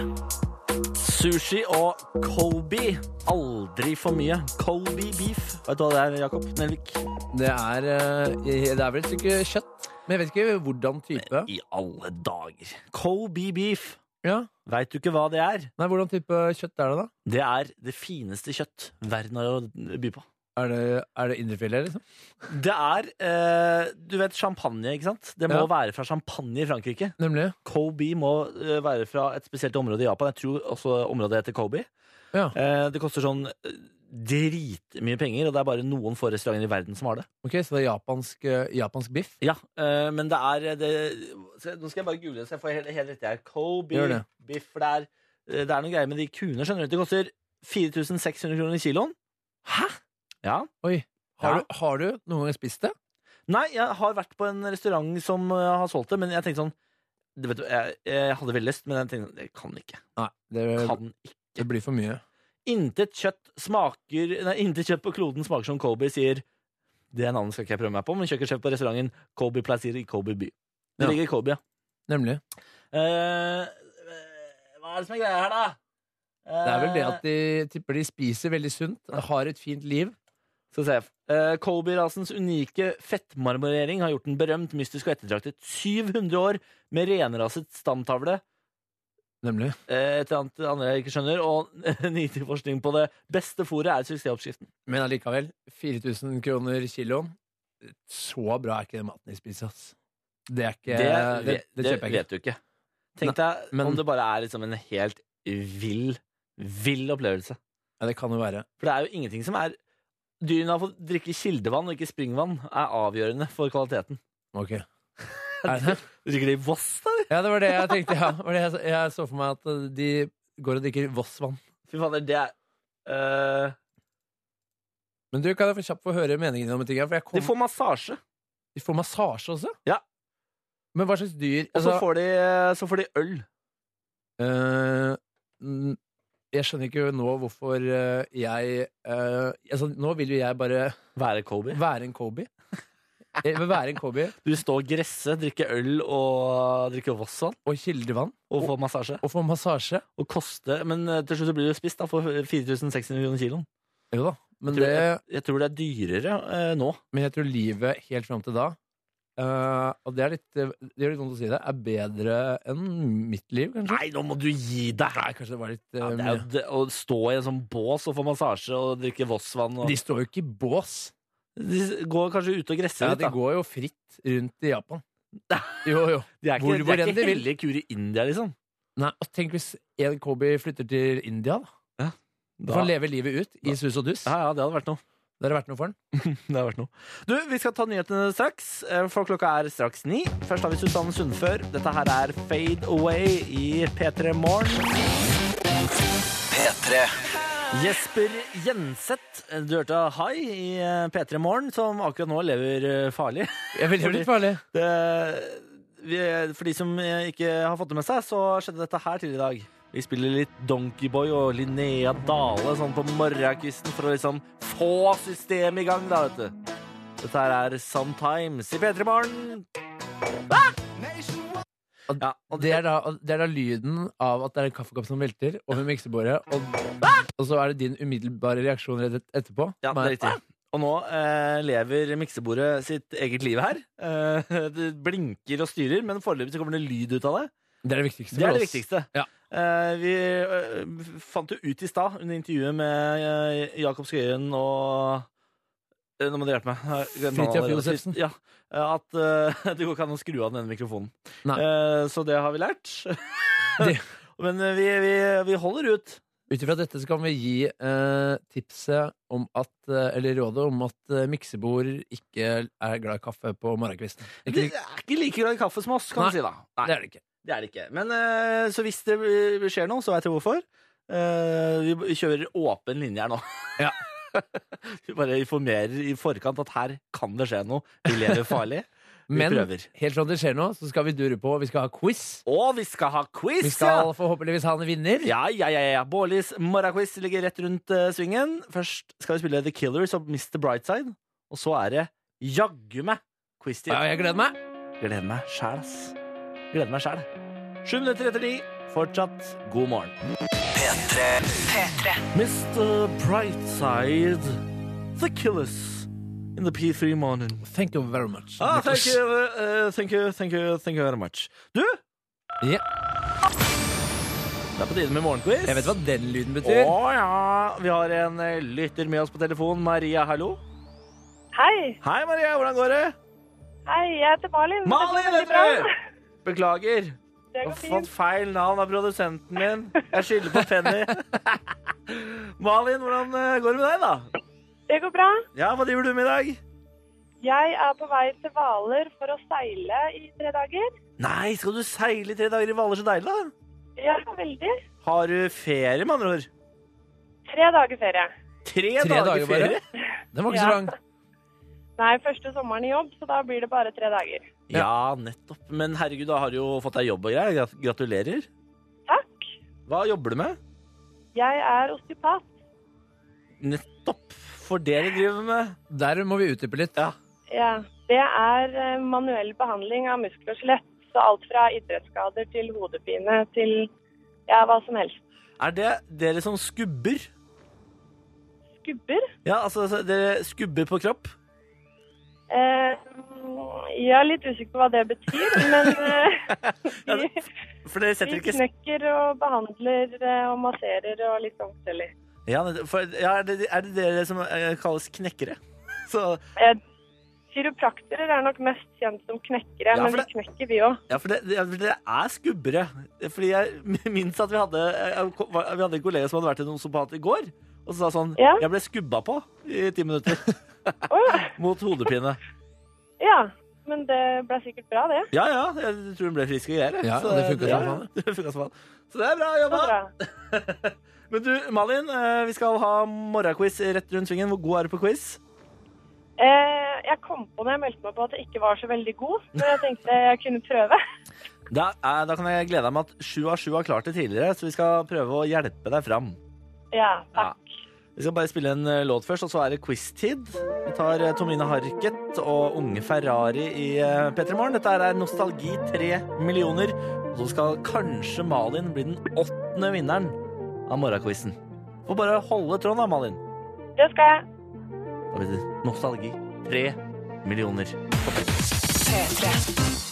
Sushi og Colby. Aldri for mye. Colby beef. Vet du hva det er, Jakob Nelvik?
Det er, eh, det er vel et stykke kjøtt. Men jeg vet ikke hvordan type.
I alle dager. Colby beef.
Ja.
Veit du ikke hva det er?
Nei, hvordan type kjøtt er det, da?
Det er det fineste kjøtt verden har å by på.
Er det, er det indrefilet, liksom?
Det er eh, Du vet champagne, ikke sant? Det må
Ja.
være fra champagne i Frankrike.
Nemlig.
Kobe må eh, være fra et spesielt område i Japan. Jeg tror også området heter Kobe.
Ja,
Eh, det koster sånn eh, dritmye penger, og det er bare noen få restauranter i verden som har det.
ok, Så det er japansk, eh, japansk biff?
Ja, eh, men det er det, se, Nå skal jeg bare google det, så jeg får helt, helt riktig her. Kobe,
Gjør det.
biff for det er, eh, det er noen greier med de kuene. Skjønner du, Det koster 4600 kroner kiloen. Hæ?! Ja.
Oi. Har,
Ja.
du, har du noen gang spist det?
Nei, jeg har vært på en restaurant som eh, har solgt det, men jeg tenkte sånn du vet, jeg, jeg hadde veldig lyst, men jeg tenkte sånn, jeg kan ikke.
Nei, det,
Kan ikke.
det blir for mye.
Intet kjøtt smaker Nei, intet kjøtt på kloden smaker som Kobe, sier Det navnet skal ikke jeg prøve meg på, men kjøkkensjef på restauranten Kobe Plaisir i Kobe by. Det
Ja.
ligger i Kobe, ja.
Nemlig.
Eh, hva er det som er greia her, da? Eh,
Det er vel det at de tipper de spiser veldig sunt, har et fint liv.
Skal vi se. Eh, Kobe-rasens unike fettmarmorering har gjort den berømt, mystisk og ettertraktet. 700 år med renraset stamtavle.
Nemlig.
eh, Et eller annet andre jeg ikke skjønner. Og nyttig forskning på det beste fôret er suksessoppskriften.
Men allikevel, 4000 kroner kiloen. Så bra er ikke den maten de spiser, ass. Det er ikke Det, det, kjøper jeg ikke.
vet du ikke. Tenk deg
men-
om det bare er liksom en helt vill, vill opplevelse.
Ja, det kan jo være.
For det er jo ingenting som er Dyrene har fått drikke kildevann og ikke springvann, er avgjørende for kvaliteten.
Ok. Er det?
Drikker de Voss, da? eller?
Ja, det var det jeg tenkte. Ja. Det var det jeg, så- jeg så for meg at eh, de går og drikker Voss-vann.
Fy fader, det er øh,
Men du, kan jeg få kjapt få høre meningen om en ting? her? For jeg kom,
De får massasje,
de får massasje også?
Ja.
Men hva slags dyr
og så
altså,
får, de, så får de øl.
eh, mm, Jeg skjønner ikke nå hvorfor eh, jeg eh, altså, Nå vil jo jeg bare
Være Kobe.
være en Kobe. Jeg vil være en Kobe
Du står og gresser, drikker øl og drikker Voss-vann
og kildevann
og får massasje.
og få massasje.
Og koste, Men øh, til slutt så blir du spist da, for 4600 kroner kiloen.
Jo da. Men,
Tror
det,
jeg, jeg tror det er dyrere øh, nå.
men jeg tror livet helt fram til da eh, Og det er litt, eh, det gjør litt vondt å si det, er bedre enn mitt liv, kanskje.
Nei, nå må du gi deg!
Nei, kanskje det var litt
Ja,
eh,
det er jo
mye.
det, å stå i en sånn bås og få massasje og drikke Voss-vann og
De står jo ikke i bås.
De går kanskje ut og gresser
Ja,
litt,
de
da.
går jo fritt rundt i Japan. Jo, jo.
De er ikke,
Hvor-
de
hvor
er
enn de
ikke
vil.
hellige kur i India, liksom.
Nei, og Tenk hvis en Kobe flytter til India, da. Da får
Da-
han leve livet ut i sus og dus.
Ja, ja, det hadde vært noe.
Det har vært noe for han.
Det hadde vært noe. Du, vi skal ta nyhetene straks, eh, for klokka er straks ni. Først har vi Susanne Sundfør. Dette her er Fade Away i P3 Morgen.
P3.
Jesper Jenseth, eh, du hørte Hai i eh, P3 Morgen, som akkurat nå lever eh, farlig.
Jeg vil
Fordi-
litt farlig.
Det, vi, for de som eh, ikke har fått det med seg, så skjedde dette her tidligere i dag. Vi spiller litt Donkeyboy og Linnea Dale sånn på morgenkvisten for å liksom få systemet i gang, da, vet du. Dette her er Sometimes i P3 Morgen. Ah! Ja, og
Det er, da, det er da lyden av at det er en kaffekopp som velter over miksebordet, og, og så er det din umiddelbare reaksjon rett et- etterpå.
Ja, det
Men-
er riktig. Og nå eh, lever miksebordet sitt eget liv her. Eh, det blinker og styrer, men foreløpig så kommer det lyd ut av det.
Det er det viktigste.
Det
for
er det
oss.
viktigste.
Ja.
Eh, vi eh, fant jo ut i stad under intervjuet med eh, Jakob Skøyen og Eh, Nå må dere hjelpe meg. Jeg har glemt navnet
Fridtjof
allerede.
Josefsen.
Ja, eh, at eh, det går ikke an å skru av denne mikrofonen.
Nei.
Eh, så det har vi lært.
Det-
Men eh, vi, vi, vi holder ut.
Ut ifra dette så kan vi gi eh, tipset om at, eh, eller rådet om at eh, miksebord ikke er glad i kaffe på morgenkvisten. Ikke,
Det er ikke like glad i kaffe som oss, kan
Nei.
du si da.
det er det ikke.
Det er det ikke. Men eh, så hvis det eh, skjer noe, så vet jeg hvorfor. Eh, vi b- kjører åpen linje her nå.
Ja.
vi bare informerer i forkant at her kan det skje noe. Vi lever farlig. Vi
Men
prøver.
helt fra det skjer noe, så skal vi dure på. Vi skal ha quiz.
Og vi skal ha quiz!
Vi skal forhåpentligvis ha en vinner.
ja, ja, ja, ja, ja. Bårlis morgenquiz ligger rett rundt eh, svingen. Først skal vi spille The Killers og Mr. Brightside. Og så er det jaggu meg quiz-tid.
Ja, jeg gleder meg.
Gleder meg sjæl, ass. Gleder meg sjæl. Sju minutter etter ni. Fortsatt god morgen. Mr. Brightside, The Killers in the P3 morning.
Thank you very much.
Ah, thank
Niklas.
you, uh, thank you, thank you, thank you very much. Du,
Ja.
Det er på tide med morgenquiz.
Jeg vet hva den lyden betyr.
Å ja. Vi har en eh, lytter med oss på telefon. Maria, hallo.
Hei.
Hei, Maria. Hvordan går det?
Hei, jeg heter Malin. Det går
Malin
veldig
heter
bra.
du! Beklager.
Det
Jeg
går
har fått
fint.
feil navn av produsenten min. Jeg skylder på Fenny. Malin, hvordan eh, går det med deg, da?
Det går bra.
Ja, Hva driver du med i dag?
Jeg er på vei til Hvaler for å seile i tre dager.
Nei, skal du seile i tre dager i Hvaler? Så deilig, da.
Ja, veldig.
Har du ferie, med andre ord?
Tre dager ferie.
Tre,
Tre
dager,
dager bare?
ferie?
Den var ikke
Ja.
så lang.
Nei, første sommeren i jobb, så da blir det bare tre dager.
Ja, nettopp. Men herregud, da har du jo fått deg jobb og greier. Grat- Gratulerer.
Takk.
Hva jobber du med?
Jeg er osteopat.
Nettopp. For det du driver med.
Der må vi utdype litt.
Ja.
Ja, det er eh, manuell behandling av muskler og skjelett. Så alt fra idrettsskader til hodepine til ja, hva som helst.
Er det dere som skubber?
Skubber.
Ja, altså så dere skubber på kropp?
Eh, jeg er litt usikker på hva det betyr, men eh,
Ja,
vi-
For dere setter
Vi
ikke
knekker og behandler eh, og masserer og litt sånn forskjellig.
Ja, nettopp. for, ja er, det, er det dere som eh, kalles knekkere? Så,
Eh, Kiropraktorer er nok mest kjent som knekkere,
Ja,
men
for
vi
det-
knekker vi òg.
ja, for det- ja, for dere er skubbere. Fordi jeg minnes at vi hadde, jeg kom- var- vi hadde en kollega som hadde vært en osopat i går, og så sa sånn
Ja.
Jeg ble skubba på i ti minutter
Å ja.
mot hodepine.
ja. Men det ble sikkert bra, det.
Ja ja, jeg tror hun ble frisk og greier. jeg.
Ja,
Så
det funket som faen,
det funket som faen. Så det er bra
Så
jobba.
bra.
Men du, Malin, eh, vi skal ha morgenquiz rett rundt svingen. Hvor god er du på quiz?
Eh, jeg kom på når jeg meldte meg på at jeg ikke var så veldig god, men jeg tenkte jeg kunne prøve.
Da, eh, da kan jeg glede deg med at sju av sju har klart det tidligere, så vi skal prøve å hjelpe deg fram. Ja.
Ja, takk.
Vi skal bare spille en eh, låt først, og så er det quiz-tid. Vi tar eh, Tomine Harket og Unge Ferrari i eh, P3 Morgen. Dette er Nostalgi 3 millioner. Og så skal kanskje Malin bli den åttende vinneren av morgenquizen. Får bare holde tråden da, Malin.
Det skal jeg.
Da blir det Nostalgi 3 millioner.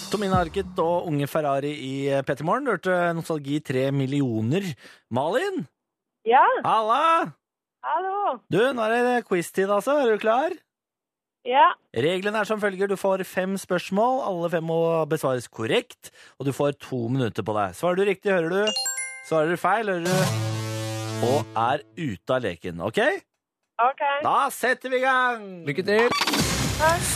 Tomine Harket og Unge Ferrari i eh, P3 Morgen. Du hørte Nostalgi 3 millioner. Malin!
Ja,
Halla!
hallo.
Du, nå er det quiz-tid, altså. Er du klar?
Ja,
Reglene er som følger. Du får fem spørsmål. Alle fem må besvares korrekt, og du får to minutter på deg. Svarer du riktig, hører du. Svarer du feil, hører du. Og er ute av leken. OK?
OK.
Da setter vi i gang!
Lykke til.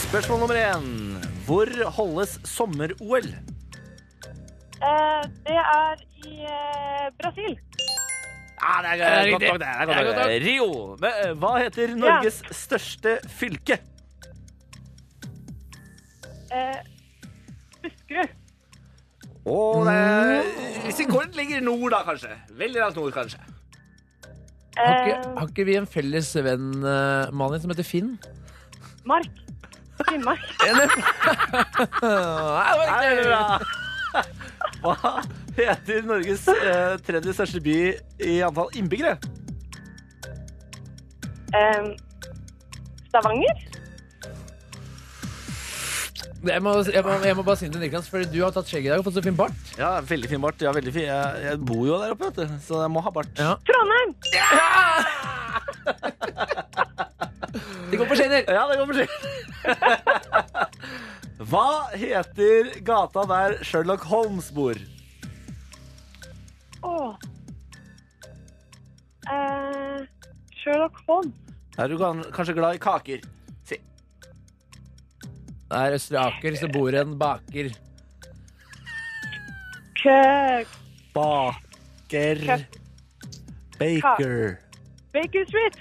Spørsmål nummer én. Hvor holdes sommer-OL?
Eh, det er i eh, Brasil.
Ja, det er,
Det er
godt
riktig.
nok, det. det, er
Det er
godt nok. det. Rio. Men, eh, hva heter Norges største fylke?
Eh, Buskerud.
Å, det er Sigurd ligger i nord, da, kanskje. Veldig langt nord, kanskje.
Har
Eh,
ikke, har ikke vi en felles venn, eh, Malin, som heter Finn?
Mark. Finnmark.
Nei, det er bra. Hva heter Norges eh, tredje største by i antall innbyggere?
Ehm, Stavanger?
Jeg må, jeg, må, jeg må bare si det til Niklas, for du har tatt skjegg i dag og fått så fin bart.
Ja, veldig fin bart. Ja, veldig fin. Jeg, jeg bor jo der oppe, vet du, så jeg må ha bart.
Ja.
Trondheim!
Det går på skinner!
Ja, det går for seg. Hva heter gata der Sherlock Holmes bor?
Åh. Eh, Sherlock Holmes.
Er du kan- kanskje glad i kaker? Si.
Det er Østre Aker, så bor en baker.
Kø
Baker. Baker.
Baker Street.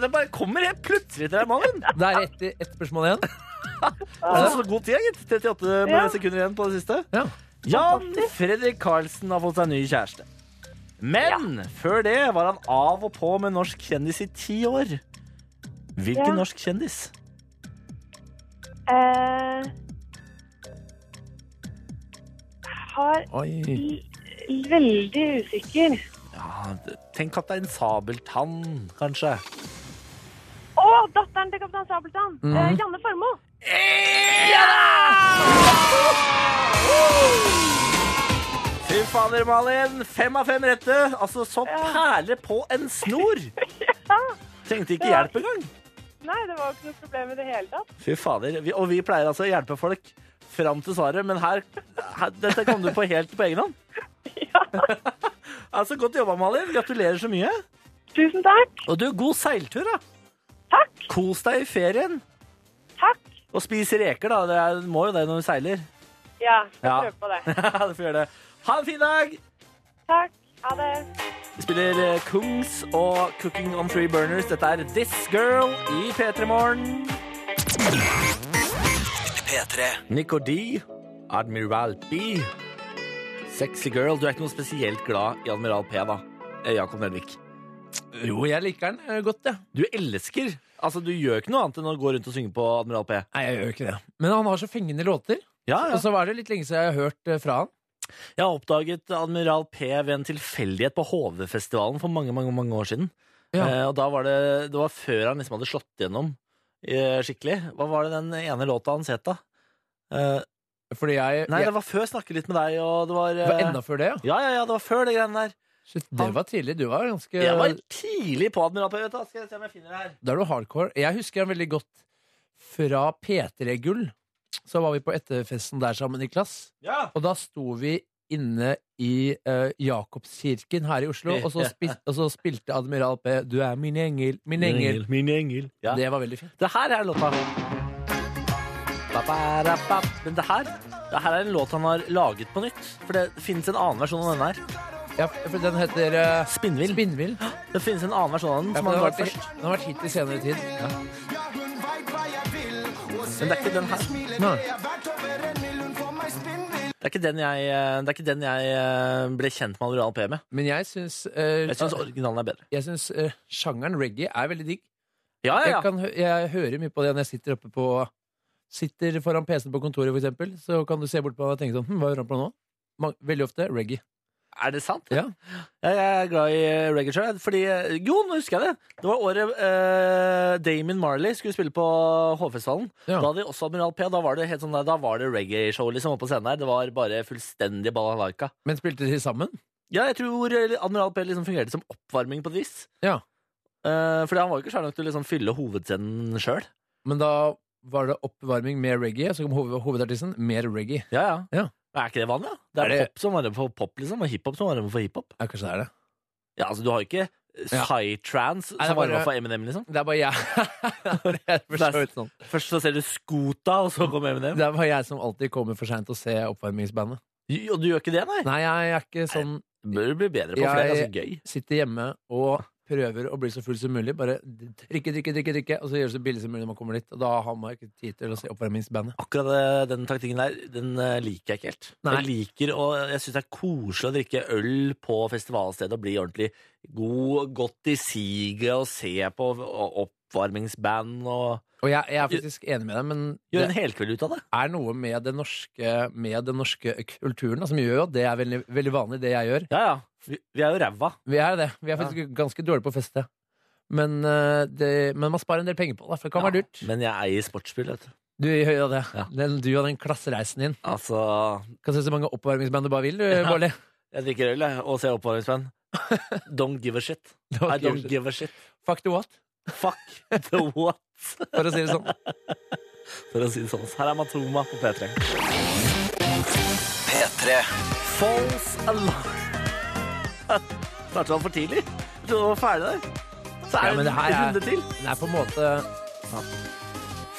Det bare kommer helt plutselig til deg, Malin.
Det er ett et spørsmål igjen.
Altså, så god tid, gitt. 38
Ja.
sekunder igjen på det siste.
Ja.
Jan Fredrik Karlsen har fått seg ny kjæreste. Men før det var han av og på med norsk kjendis i ti år. Hvilken
Ja.
norsk kjendis?
Eh, har
Oi.
l- veldig usikker.
Ja, tenk Kaptein Sabeltann, kanskje.
Å, datteren til Kaptein Sabeltann. Eh, Janne Formoe.
Fy faen, fader, Malin! Fem av fem rette! Altså, som perler på en snor! Trengte ikke hjelp engang.
Nei, det var jo ikke noe problem i det hele tatt.
Fy fader. Vi, og vi pleier altså å hjelpe folk fram til svaret, men her, her Dette kom du på helt på egen hånd. altså, godt jobba, Malin. Gratulerer så mye.
Tusen takk.
Og du, god seiltur, da.
Takk.
Kos deg i ferien.
Takk.
Og spis reker, da. Det er, må jo det når du seiler.
Ja, skal
Ja.
prøve på det.
du får gjøre det. Ha en fin dag!
Takk. Ha det.
Vi spiller eh, Kungs og Cooking on Three Burners. Dette er This Girl i P3 Morgen.
P3.
Nico D, Admiral B. Sexy girl. Du er ikke noe spesielt glad i Admiral P, da. Eh, Jakob Nelvik.
Jo, jeg liker den eh, godt, jeg.
Du elsker. Altså, du gjør ikke noe annet enn å gå rundt og synge på Admiral P.
Nei, jeg gjør ikke det. Men han har så fengende låter.
Ja,
Og så var det litt lenge siden jeg har hørt eh, fra han.
Jeg har oppdaget Admiral P ved en tilfeldighet på HV-festivalen for mange, mange, mange år siden.
Ja.
Eh, og da var det, det var før han liksom hadde slått gjennom eh, skikkelig. Hva var det den ene låta hans het, da? Eh,
Fordi jeg,
nei,
jeg
det var før jeg snakket litt med deg, og det var,
det
eh,
var enda før det, ja.
Ja, ja, ja, det var før de greiene der.
Shit, det
Han-
var tidlig. Du var ganske
Jeg var tidlig på Admiral P, vet du. Skal jeg se om jeg finner det her.
Da er du hardcore. Jeg husker han veldig godt fra P3 Gull. Så var vi på etterfesten der sammen, Niklas.
Ja!
Og da sto vi inne i eh, Jakobskirken her i Oslo, og så, spil og så spilte Admiral P 'Du er min engel, min engel'.
Min engel. Ja.
Det var veldig fint.
Det her er låta Ba-ba-ra-ba. Men det her, det her er en låt han har laget på nytt. For det finnes en annen versjon av denne her.
Ja, for den heter eh,
Spinnvill.
Spinnvill.
Det finnes en annen versjon av den.
Ja,
som har
for den, har
vært
vært,
først.
den har vært hit i senere tid.
Men det er ikke den her.
Nei.
Det er ikke den jeg, eh, det er ikke den jeg eh, ble kjent med Admiral P med.
Men jeg syns eh,
Jeg syns originalen er bedre.
jeg syns, eh, sjangeren reggae er veldig digg.
Ja, ja,
Jeg,
ja.
kan, hø- jeg hører mye på det når jeg sitter oppe på Sitter foran PC-en på kontoret, for eksempel. Så kan du se bort på meg og tenke sånn hm, Hva hører han på nå? Man, veldig ofte reggae.
Er det sant?
Ja.
Jeg er glad i eh, reggae sjøl. Fordi eh, Jo, nå husker jeg det! Det var året eh, Damon Marley skulle spille på Hovfestivalen.
Ja.
Da hadde de også Admiral P. Da var det helt sånn der, da var det reggae-show liksom oppe på scenen her. Det var bare fullstendig balalaika.
Men spilte de sammen?
Ja, jeg tror eh, Admiral P liksom fungerte som oppvarming på et vis.
Ja.
Eh, fordi han var jo ikke svær nok til å liksom fylle hovedscenen sjøl.
Men da var det oppvarming med reggae, så kom hoved, hovedartisten mer reggae.
Ja, ja.
Ja.
Men er ikke det vanlig? da? Det er,
Er det-
pop som varmer for pop, liksom, og hiphop som varmer for hiphop.
Ja, kanskje det er det.
Ja, altså, du har jo ikke
Ja.
psy-trans
Nei, det
som
er bare-
varmer for Eminem, liksom.
Det er bare jeg. det, er for så vidt sånn.
Først så ser du Skota, og så kommer Eminem.
det er bare jeg som alltid kommer for seint å se oppvarmingsbandet.
Jo, Og du gjør ikke det, nei?
Nei, jeg er ikke sånn
Det bør du bli bedre på, for det er
Jeg-
ganske gøy.
sitter hjemme og prøver å bli så full som mulig. Bare drikke, drikke, drikke, drikke og så gjøre det så billig som mulig når man kommer dit. Og da har man ikke tid til å se oppvarmingsbandet.
Akkurat eh, den taktikken der, den eh, liker jeg ikke helt.
Nei.
Jeg liker, og jeg syns det er koselig å drikke øl på festivalstedet og bli ordentlig god, godt i siget og se på og oppvarmingsband og
Og jeg, jeg er faktisk enig med deg, men
Gjøre
det
en helkveld ut av det.
er noe med den norske, med den norske kulturen da, som gjør jo at det er veldig, veldig vanlig, det jeg gjør.
Ja, ja. Vi, vi er jo ræva.
Vi er det. Vi er faktisk ganske dårlige på å feste. Men, eh, det, men man sparer en del penger på det, for det kan være
Ja,
dyrt.
Men jeg eier sportsbil, vet du.
Du gjør jo det.
Ja.
Den, du og den klassereisen din.
Altså,
Kan se så mange oppvarmingsband du bare vil, du, Bårdli.
jeg drikker øl jeg, og ser oppvarmingsband. Don't give a shit. I don't give a shit.
Fuck the what,
Fuck the what,
for å si det sånn.
for å si det sånn. Her er Matoma på P3.
P3.
False alarm. Startet han for tidlig? Jeg trodde han var ferdig der. Så
Ja,
er
men
det
det
en
her er-
runde til.
Det er på en måte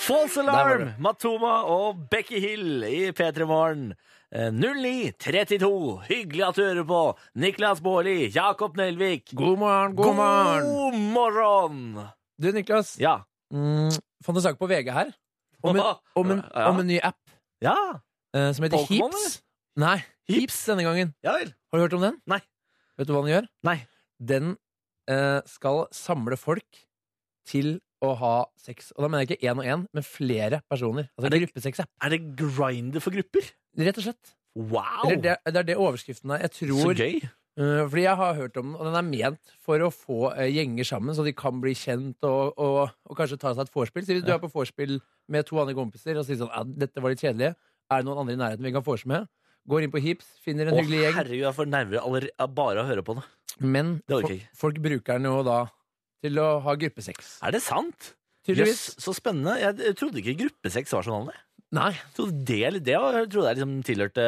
False
var
Alarm!
det.
Matoma og Becky Hill i P3 Morgen. Eh, 09.32. Hyggelig at du hører på. Niklas Baarli, Jakob Nelvik.
God morgen, god, morgen!
God morgen!
Du, Niklas.
Ja.
Mm, fant en sak på VG her. Om en, om en,
Ja.
om en ny app
ja.
eh, som heter
Pokémon,
Heaps. Nei, Heaps denne gangen.
Ja vel.
Har du hørt om den?
Nei.
Vet du hva den gjør?
Nei.
Den eh, skal samle folk til å ha sex. Og da mener jeg ikke én og én, men flere personer.
Er
Altså
det-
gruppesex-app.
Er det grinder for grupper?
Rett og slett.
Wow!
Eller det, det er det overskriften er. Jeg
Så
tror
gøy.
Eh, fordi jeg har hørt om den, og den er ment for å få eh, gjenger sammen, så de kan bli kjent og, og, og kanskje ta seg et vorspiel. Så hvis du er på vorspiel med to andre kompiser og sier sånn, ja, dette var litt kjedelig, er det noen andre i nærheten vi kan vorse med? Går inn på Hips, finner en
Å,
hyggelig gjeng.
herregud, jeg får nerver allerede av bare å høre på det.
Men
Det orker
fo-
jeg ikke.
folk bruker den jo da til å ha gruppesex.
Er det sant?
Tydeligvis.
Jøss, så spennende. Jeg trodde ikke gruppesex var så vanlig.
Nei.
Jeg trodde det, det var, jeg trodde jeg liksom tilhørte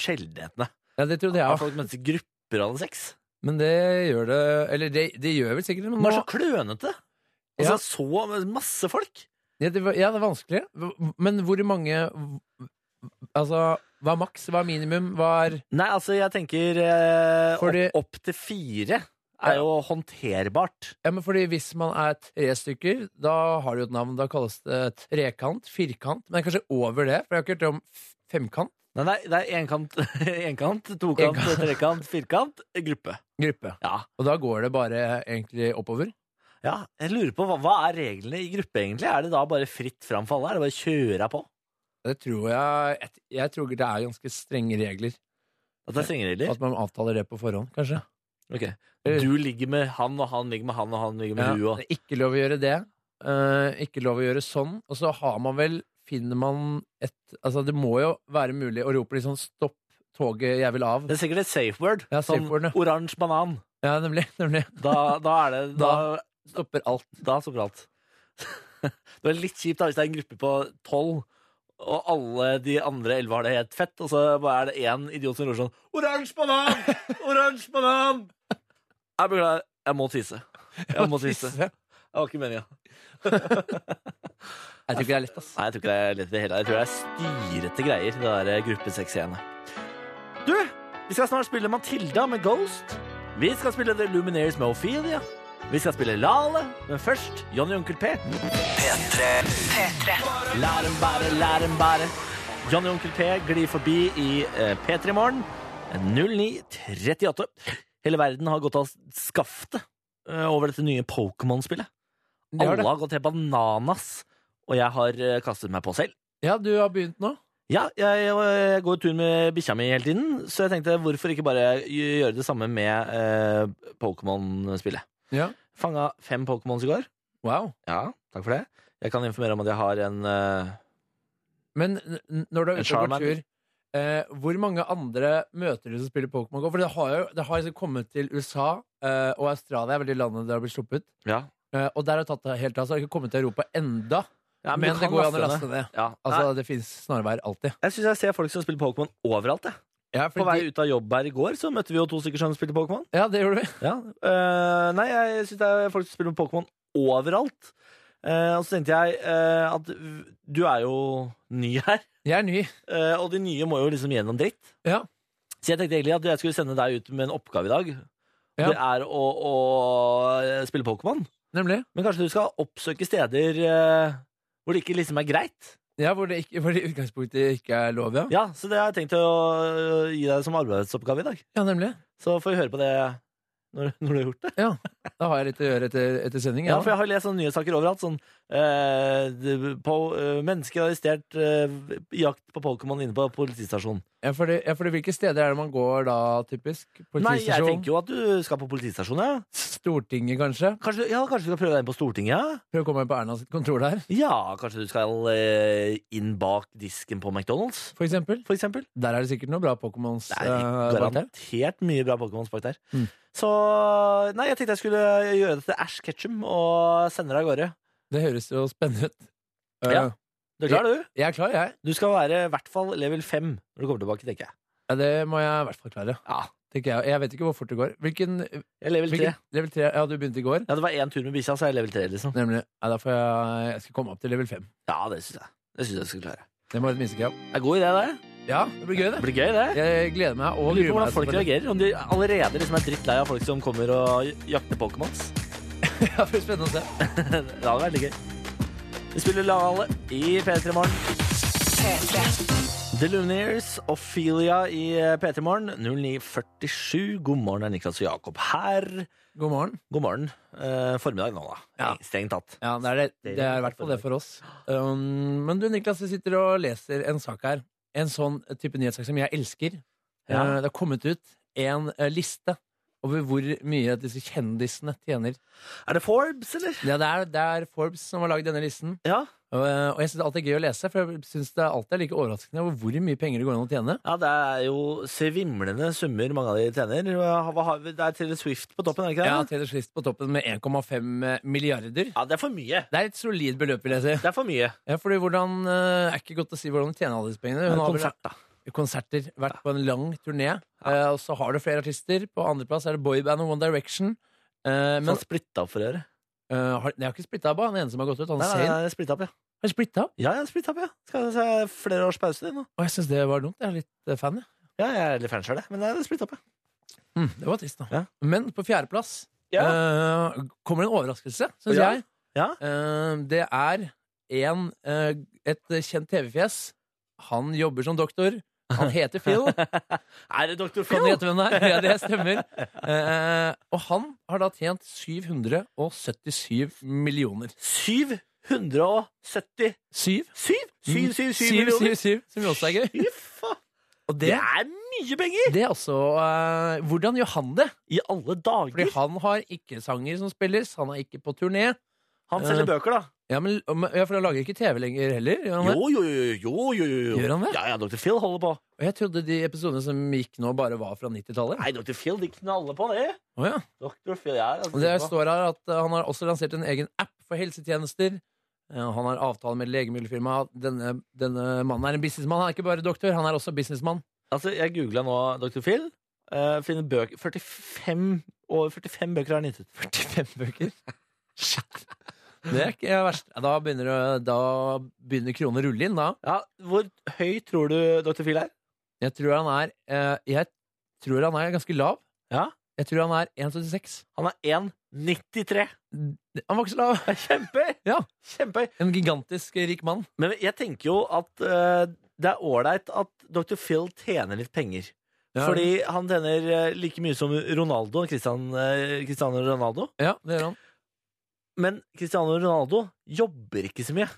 sjeldenhetene.
Ja, det trodde
At
jeg òg.
folk møttes i grupper og hadde sex.
Men det gjør det Eller det, det gjør vel sikkert det, men
Den var
nå,
så klønete. Altså,
Ja.
Så masse folk.
ja, det, var- ja, det er vanskelig. Hv- Men hvor mange Altså, hva er maks? Hva er minimum? Hva er
Nei, altså, jeg tenker eh,
Fordi-
opp, opp til fire er jo håndterbart.
Ja, men fordi Hvis man er tre stykker, da har det jo et navn. Da kalles det trekant, firkant, men kanskje over det. For jeg har ikke hørt om f- femkant.
Nei, nei det er enkant, enkant tokant,
Enkant.
trekant, firkant, gruppe.
Gruppe.
Ja.
Og da går det bare egentlig oppover.
ja. Jeg lurer på, hva, hva er reglene i gruppe, egentlig? Er det da bare fritt fram for alle? Er det bare å kjøre på?
Det tror jeg Jeg, jeg tror det er ganske strenge regler.
At det er strengeregler?
At man avtaler det på forhånd, kanskje.
Ok. Du ligger med han, og han ligger med han, og han ligger med
Ja,
hun, og
det er ikke lov å gjøre det. eh, ikke lov å gjøre sånn. Og så har man vel Finner man et Altså, det må jo være mulig å rope litt sånn 'stopp toget, jeg vil av'.
Det er sikkert et safe word.
Ja, safe
som
word, ja.
oransje banan.
Ja, nemlig. nemlig.
Da, da er det Da,
Da- Stopper alt.
da stopper alt. det er litt kjipt da hvis det er en gruppe på tolv, og alle de andre elleve har det helt fett, og så bare er det én idiot som roper sånn Oransje banan! Oransje banan! Jeg beklager. Jeg må tisse. Jeg må tisse.
Jeg
Det var ikke meninga.
tror ikke det er lett, ass.
Nei, jeg tror ikke det er lett i det hele. Jeg tror det er styrete greier, det der eh, gruppesexscene. Du, vi skal snart spille Matilda med Ghost. Vi skal spille The Lumineers med Ophelia. Vi skal spille Lale, men først Johnny og Onkel P. Lær dem bære, lær dem bære. Johnny og Onkel P glir forbi i eh, P3 Morgen 09.38. Hele verden har gått av skaftet eh, over dette nye Pokémon-spillet.
Det har
Alle
det.
har gått helt bananas, og jeg har eh, kastet meg på selv.
Ja, du har begynt nå.
Ja, jeg, jeg går tur med bikkja mi hele tiden, så jeg tenkte hvorfor ikke bare gjøre det samme med eh, Pokémon-spillet.
Ja.
Fanga fem Pokémons i går.
Wow.
Ja, takk for det. Jeg kan informere om at jeg har en eh,
Men n- n- når du er
En
ute og går
Charmander.
tur, eh, hvor mange andre møter du som spiller Pokémon GO? For det har jo det har liksom kommet til USA, eh, og Australia er vel de landene det har blitt sluppet.
Ja.
Eh, og der har tatt det helt av, så har det ikke kommet til Europa enda.
ja du
men det
kan
går jo an å
laste
laste
ned.
ned.
Ja.
Altså,
Nei,
det fins snarveier alltid.
jeg syns jeg ser folk som spiller Pokémon overalt. Jeg.
Ja,
På vei ut av jobb her i går så møtte vi jo to stykker som spilte Pokémon.
ja, det gjorde vi.
Ja. eh, nei, jeg syns det er folk som spiller Pokémon overalt. Eh, og så tenkte jeg eh, at v- du er jo ny her.
Jeg er ny.
Eh, og de nye må jo liksom gjennom dritt.
Ja.
Så jeg tenkte egentlig at jeg skulle sende deg ut med en oppgave i dag.
Ja.
Det er å, å eh, spille Pokémon.
Nemlig.
Men kanskje du skal oppsøke steder eh, hvor det ikke liksom er greit.
Ja, hvor det, ikke, hvor det i utgangspunktet ikke er lov, ja.
Ja, Så det har jeg tenkt å eh, gi deg som arbeidsoppgave i dag.
Ja, nemlig.
Så får vi høre på det når, når du har gjort det.
Da har jeg litt å gjøre etter, etter sending.
Ja,
Ja,
For jeg har lest sånne nyhetssaker overalt. Sånn eh, det- på, eh, Mennesker arrestert eh, i jakt på Pokémon inne på politistasjonen.
ja, fordi, ja, fordi hvilke steder er det man går da, typisk?
Nei, jeg
Politistasjon?
tenker jo at du skal på politistasjonen, ja.
Stortinget, kanskje?
Kanskje, ja, kanskje du skal prøve deg inn på Stortinget? ja?
Prøv å komme inn på Erna sitt kontor der,
Ja, kanskje du skal eh, inn bak disken på McDonald's,
for eksempel.
for eksempel.
Der er det sikkert noen bra Pokémons.
Det er
eh, bak der.
garantert mye bra Pokémons bak der.
Mm.
Så Nei, jeg tenkte jeg skulle gjøre det til Ash Ketchum og sende deg av gårde.
Det høres jo spennende ut. Eh,
Ja. Du er klar, du?
Jeg er klar, jeg.
Du skal være i hvert fall level 5 når du kommer tilbake, tenker jeg.
Ja, det må jeg i hvert fall klare.
Ja,
tenker Jeg Jeg vet ikke hvor fort det går. Hvilken,
jeg er level 3.
hvilken level 3? Ja, du begynte i går?
Ja, det var én tur med bikkja, så er jeg level 3, liksom.
Nemlig. Nei, da får jeg, jeg skal komme opp til level 5.
Ja, det syns jeg. Det synes jeg skal klare.
Det må være et minstekrav.
Det er god idé, det.
Ja, det blir gøy,
Det
det.
blir gøy, det.
Jeg gleder meg
Jeg lurer på
og gruer meg.
hvordan folk
selvfølgelig.
reagerer. Om de allerede liksom er drittlei av folk som kommer og jakter Pokémons.
Ja, det blir spennende å se.
Det hadde vært litt gøy. Vi spiller Lale i P3 Morgen. The Lumineers, Ophelia i P3 Morgen, 0947. God morgen, det er Niklas og Jakob her.
God morgen.
God morgen. Eh, formiddag nå, da.
Ja.
Strengt tatt.
Ja, det er, det, det er i hvert fall det for oss. Um, men du, Niklas, vi sitter og leser en sak her. En sånn type nyhetssak som jeg elsker.
Ja.
Eh, Det har kommet ut en eh, liste over hvor mye disse kjendisene tjener.
Er det Forbes, eller?
Ja, det er, det er Forbes som har lagd denne listen.
Ja.
Og, eh, og jeg syns alltid det er gøy å lese, for jeg syns det er alltid like overraskende over hvor mye penger det går an å tjene.
Ja, det er jo svimlende summer mange av de tjener. Hva har vi- Det er Taylor Swift på toppen, er det ikke det?
Ja, Taylor Swift på toppen med 1,5 eh, milliarder.
Ja, det er for mye.
Det er et solid beløp, vil jeg si.
Det er for mye.
Ja, fordi hvordan, eh, er ikke godt å si hvordan hun tjener alle disse pengene. Hun har vel
Konsert, da.
konserter, vært på en lang turné, eh, og så har du flere artister. På andreplass er det boyband og One Direction. Eh,
Men
men
splitta opp Sånn for øret.
eh, har, jeg har ikke splitta opp, han ene som har gått ut. Han
Nei, nei,
Zayn.
nei, splitta opp, ja.
Har splitta opp?
Ja, ja, splitta opp, ja. Skal se flere års pause nå.
Og jeg syns det var dumt. Jeg er litt eh, fan, jeg.
Ja, jeg er litt fan sjøl, jeg. Men det er splitta opp, ja.
Mm, det var trist, da.
Ja.
Men på fjerdeplass
Ja.
eh, kommer det en overraskelse, syns
Ja.
jeg.
Ja.
Eh, det er en, eh, et kjent TV-fjes. Han jobber som doktor. Han heter Phil.
Er det Dr.
Kan
Phil?
du gjette hvem det er? Ja, det stemmer. Eh, og han har da tjent 777 millioner.
777
Syv?
7, 7, 7, 7
Mm. Syv, syv,
millioner.
syv, som jo også er gøy.
Fy faen.
Og
Det
det,
er mye penger!
det er også eh, Hvordan gjør han det?
I alle
Fordi
dager.
han har ikke sanger som spilles, han er ikke på turné.
Han selger bøker, da.
Ja, men, ja, for han lager ikke TV lenger heller. Gjør Eh, han det?
Jo, jo, jo, jo, jo, jo.
Gjør han det?
Ja, ja, Dr. Phil holder på.
Og jeg trodde de episodene som gikk nå, bare var fra 90-tallet.
Nei, Dr. Phil, de knaller på det.
Å ja.
Dr. Phil, ja. altså,
Og Det står her at eh, han har også lansert en egen app for helsetjenester. Eh, Han har avtale med legemiddelfirmaet. Denne, denne mannen er en businessmann. Han er ikke bare doktor, han er også businessmann.
Altså, jeg googlet nå Dr. Phil. eh, finner bøker 45, Over 45 bøker har han gitt ut.
45 bøker. Det er ikke verst. Ja, Da begynner, det- da begynner kroner å rulle inn, da.
Ja, Hvor høy tror du Dr. Phil er?
Jeg tror han er, eh, jeg tror han er ganske lav.
Ja.
Jeg tror han er 1,76.
Han er 1,93.
Han var ikke så lav.
Det er Kjempehøy!
Ja.
Kjempehøy.
En gigantisk rik mann.
Men jeg tenker jo at eh, det er ålreit at Dr. Phil tjener litt penger.
Ja.
Fordi han tjener eh, like mye som Ronaldo, Christian, eh, Cristiano Ronaldo.
Ja, det gjør han.
Men Cristiano Ronaldo jobber ikke så mye.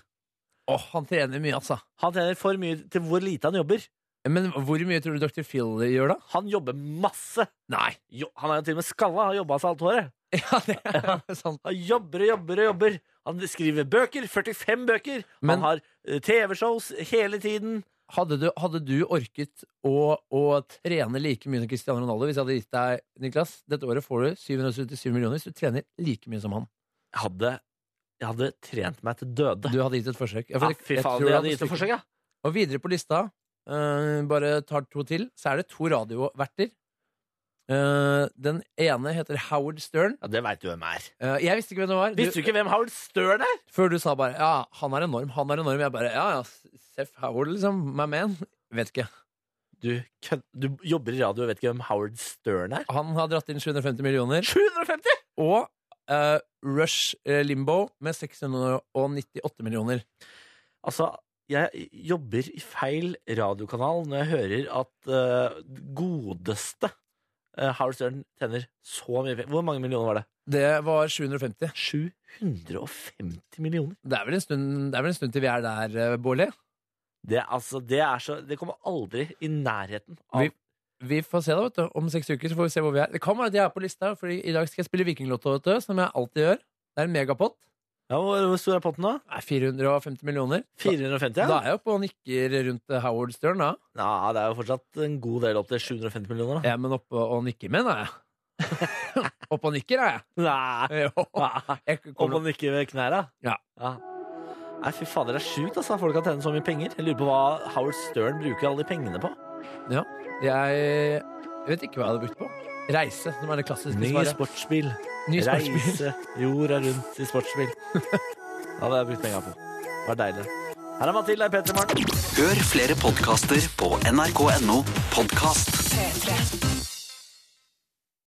Åh, han trener mye, altså.
Han tjener for mye til hvor lite han jobber.
Men hvor mye tror du Dr. Phil gjør, da?
Han jobber masse.
Nei.
Jo, han er jo til og med skalla. Han har jobba seg alt håret.
Ja, det er sant.
Han jobber og jobber og jobber. Han skriver bøker. 45 bøker. han
Men-
har eh, TV-shows hele tiden.
Hadde du, hadde du orket å, å trene like mye som Cristiano Ronaldo hvis jeg hadde gitt deg, Niklas? Dette året får du 777 millioner hvis du trener like mye som han.
Jeg hadde, jeg hadde trent meg til døde.
Du hadde gitt et forsøk.
Ja,
Ja, for jeg-
fy
jeg
faen,
tror
jeg
han
hadde gitt det
mislykket.
forsøk, ja.
Og videre på lista, eh, bare tar to til, så er det to radioverter. Eh, den ene heter Howard Stern.
ja. Det veit du hvem er.
Eh, jeg visste ikke hvem det var.
Visste du ikke hvem Howard Stern er?
Før du sa bare ja, han er enorm, han er enorm. Jeg bare ja, ja, Seff Howard, liksom. My man. Vet ikke.
Du, kødd- du jobber i radio og vet ikke hvem Howard Stern er?
Han har dratt inn 750 millioner.
750!
Og eh, Rush eh, Limbo med 698 millioner.
Altså, jeg jobber i feil radiokanal når jeg hører at eh, godeste eh, Howard Stern tjener så mye penger. Hvor mange millioner var det?
Det var 750.
750 millioner.
Det er vel en stund, det er vel en stund til vi er der, eh, Bårdli.
Det, er altså, det, er så, det kommer aldri i nærheten av
Vi- Vi får se da, vet du. Om seks uker så får vi se hvor vi er. Det kan være at jeg er på lista, for i dag skal jeg spille Vikinglotto, vet du, som jeg alltid gjør. Det er en megapott.
ja, Hvor hvor stor er potten da?
Det er 450 millioner. Da,
450?
da
Ja.
er jeg oppe og nikker rundt eh, Howard Stern, da.
ja, Det er jo fortsatt en god del opp til 750 millioner. Da.
Ja, men oppe og nikker med, da. jeg. oppe og nikker, er jeg.
Nei.
Jo.
Ja,
Jeg
Om
kommer,
man ikke ved knæra?
Ja.
Nei, fy fader, det er sjukt altså. at folk kan tjene så mye penger. Jeg lurer på hva Howard Stern bruker alle de pengene på.
ja. jeg, jeg vet ikke hva jeg hadde brukt på. Reise, som er det klassiske
Ny
svaret.
sportsbil.
Ny sportsbil.
Reise jorda rundt i sportsbil. Det hadde jeg brukt penga på. Det var deilig. Her er Mathilde Pettermann.
Hør flere podkaster på nrk.no podkast.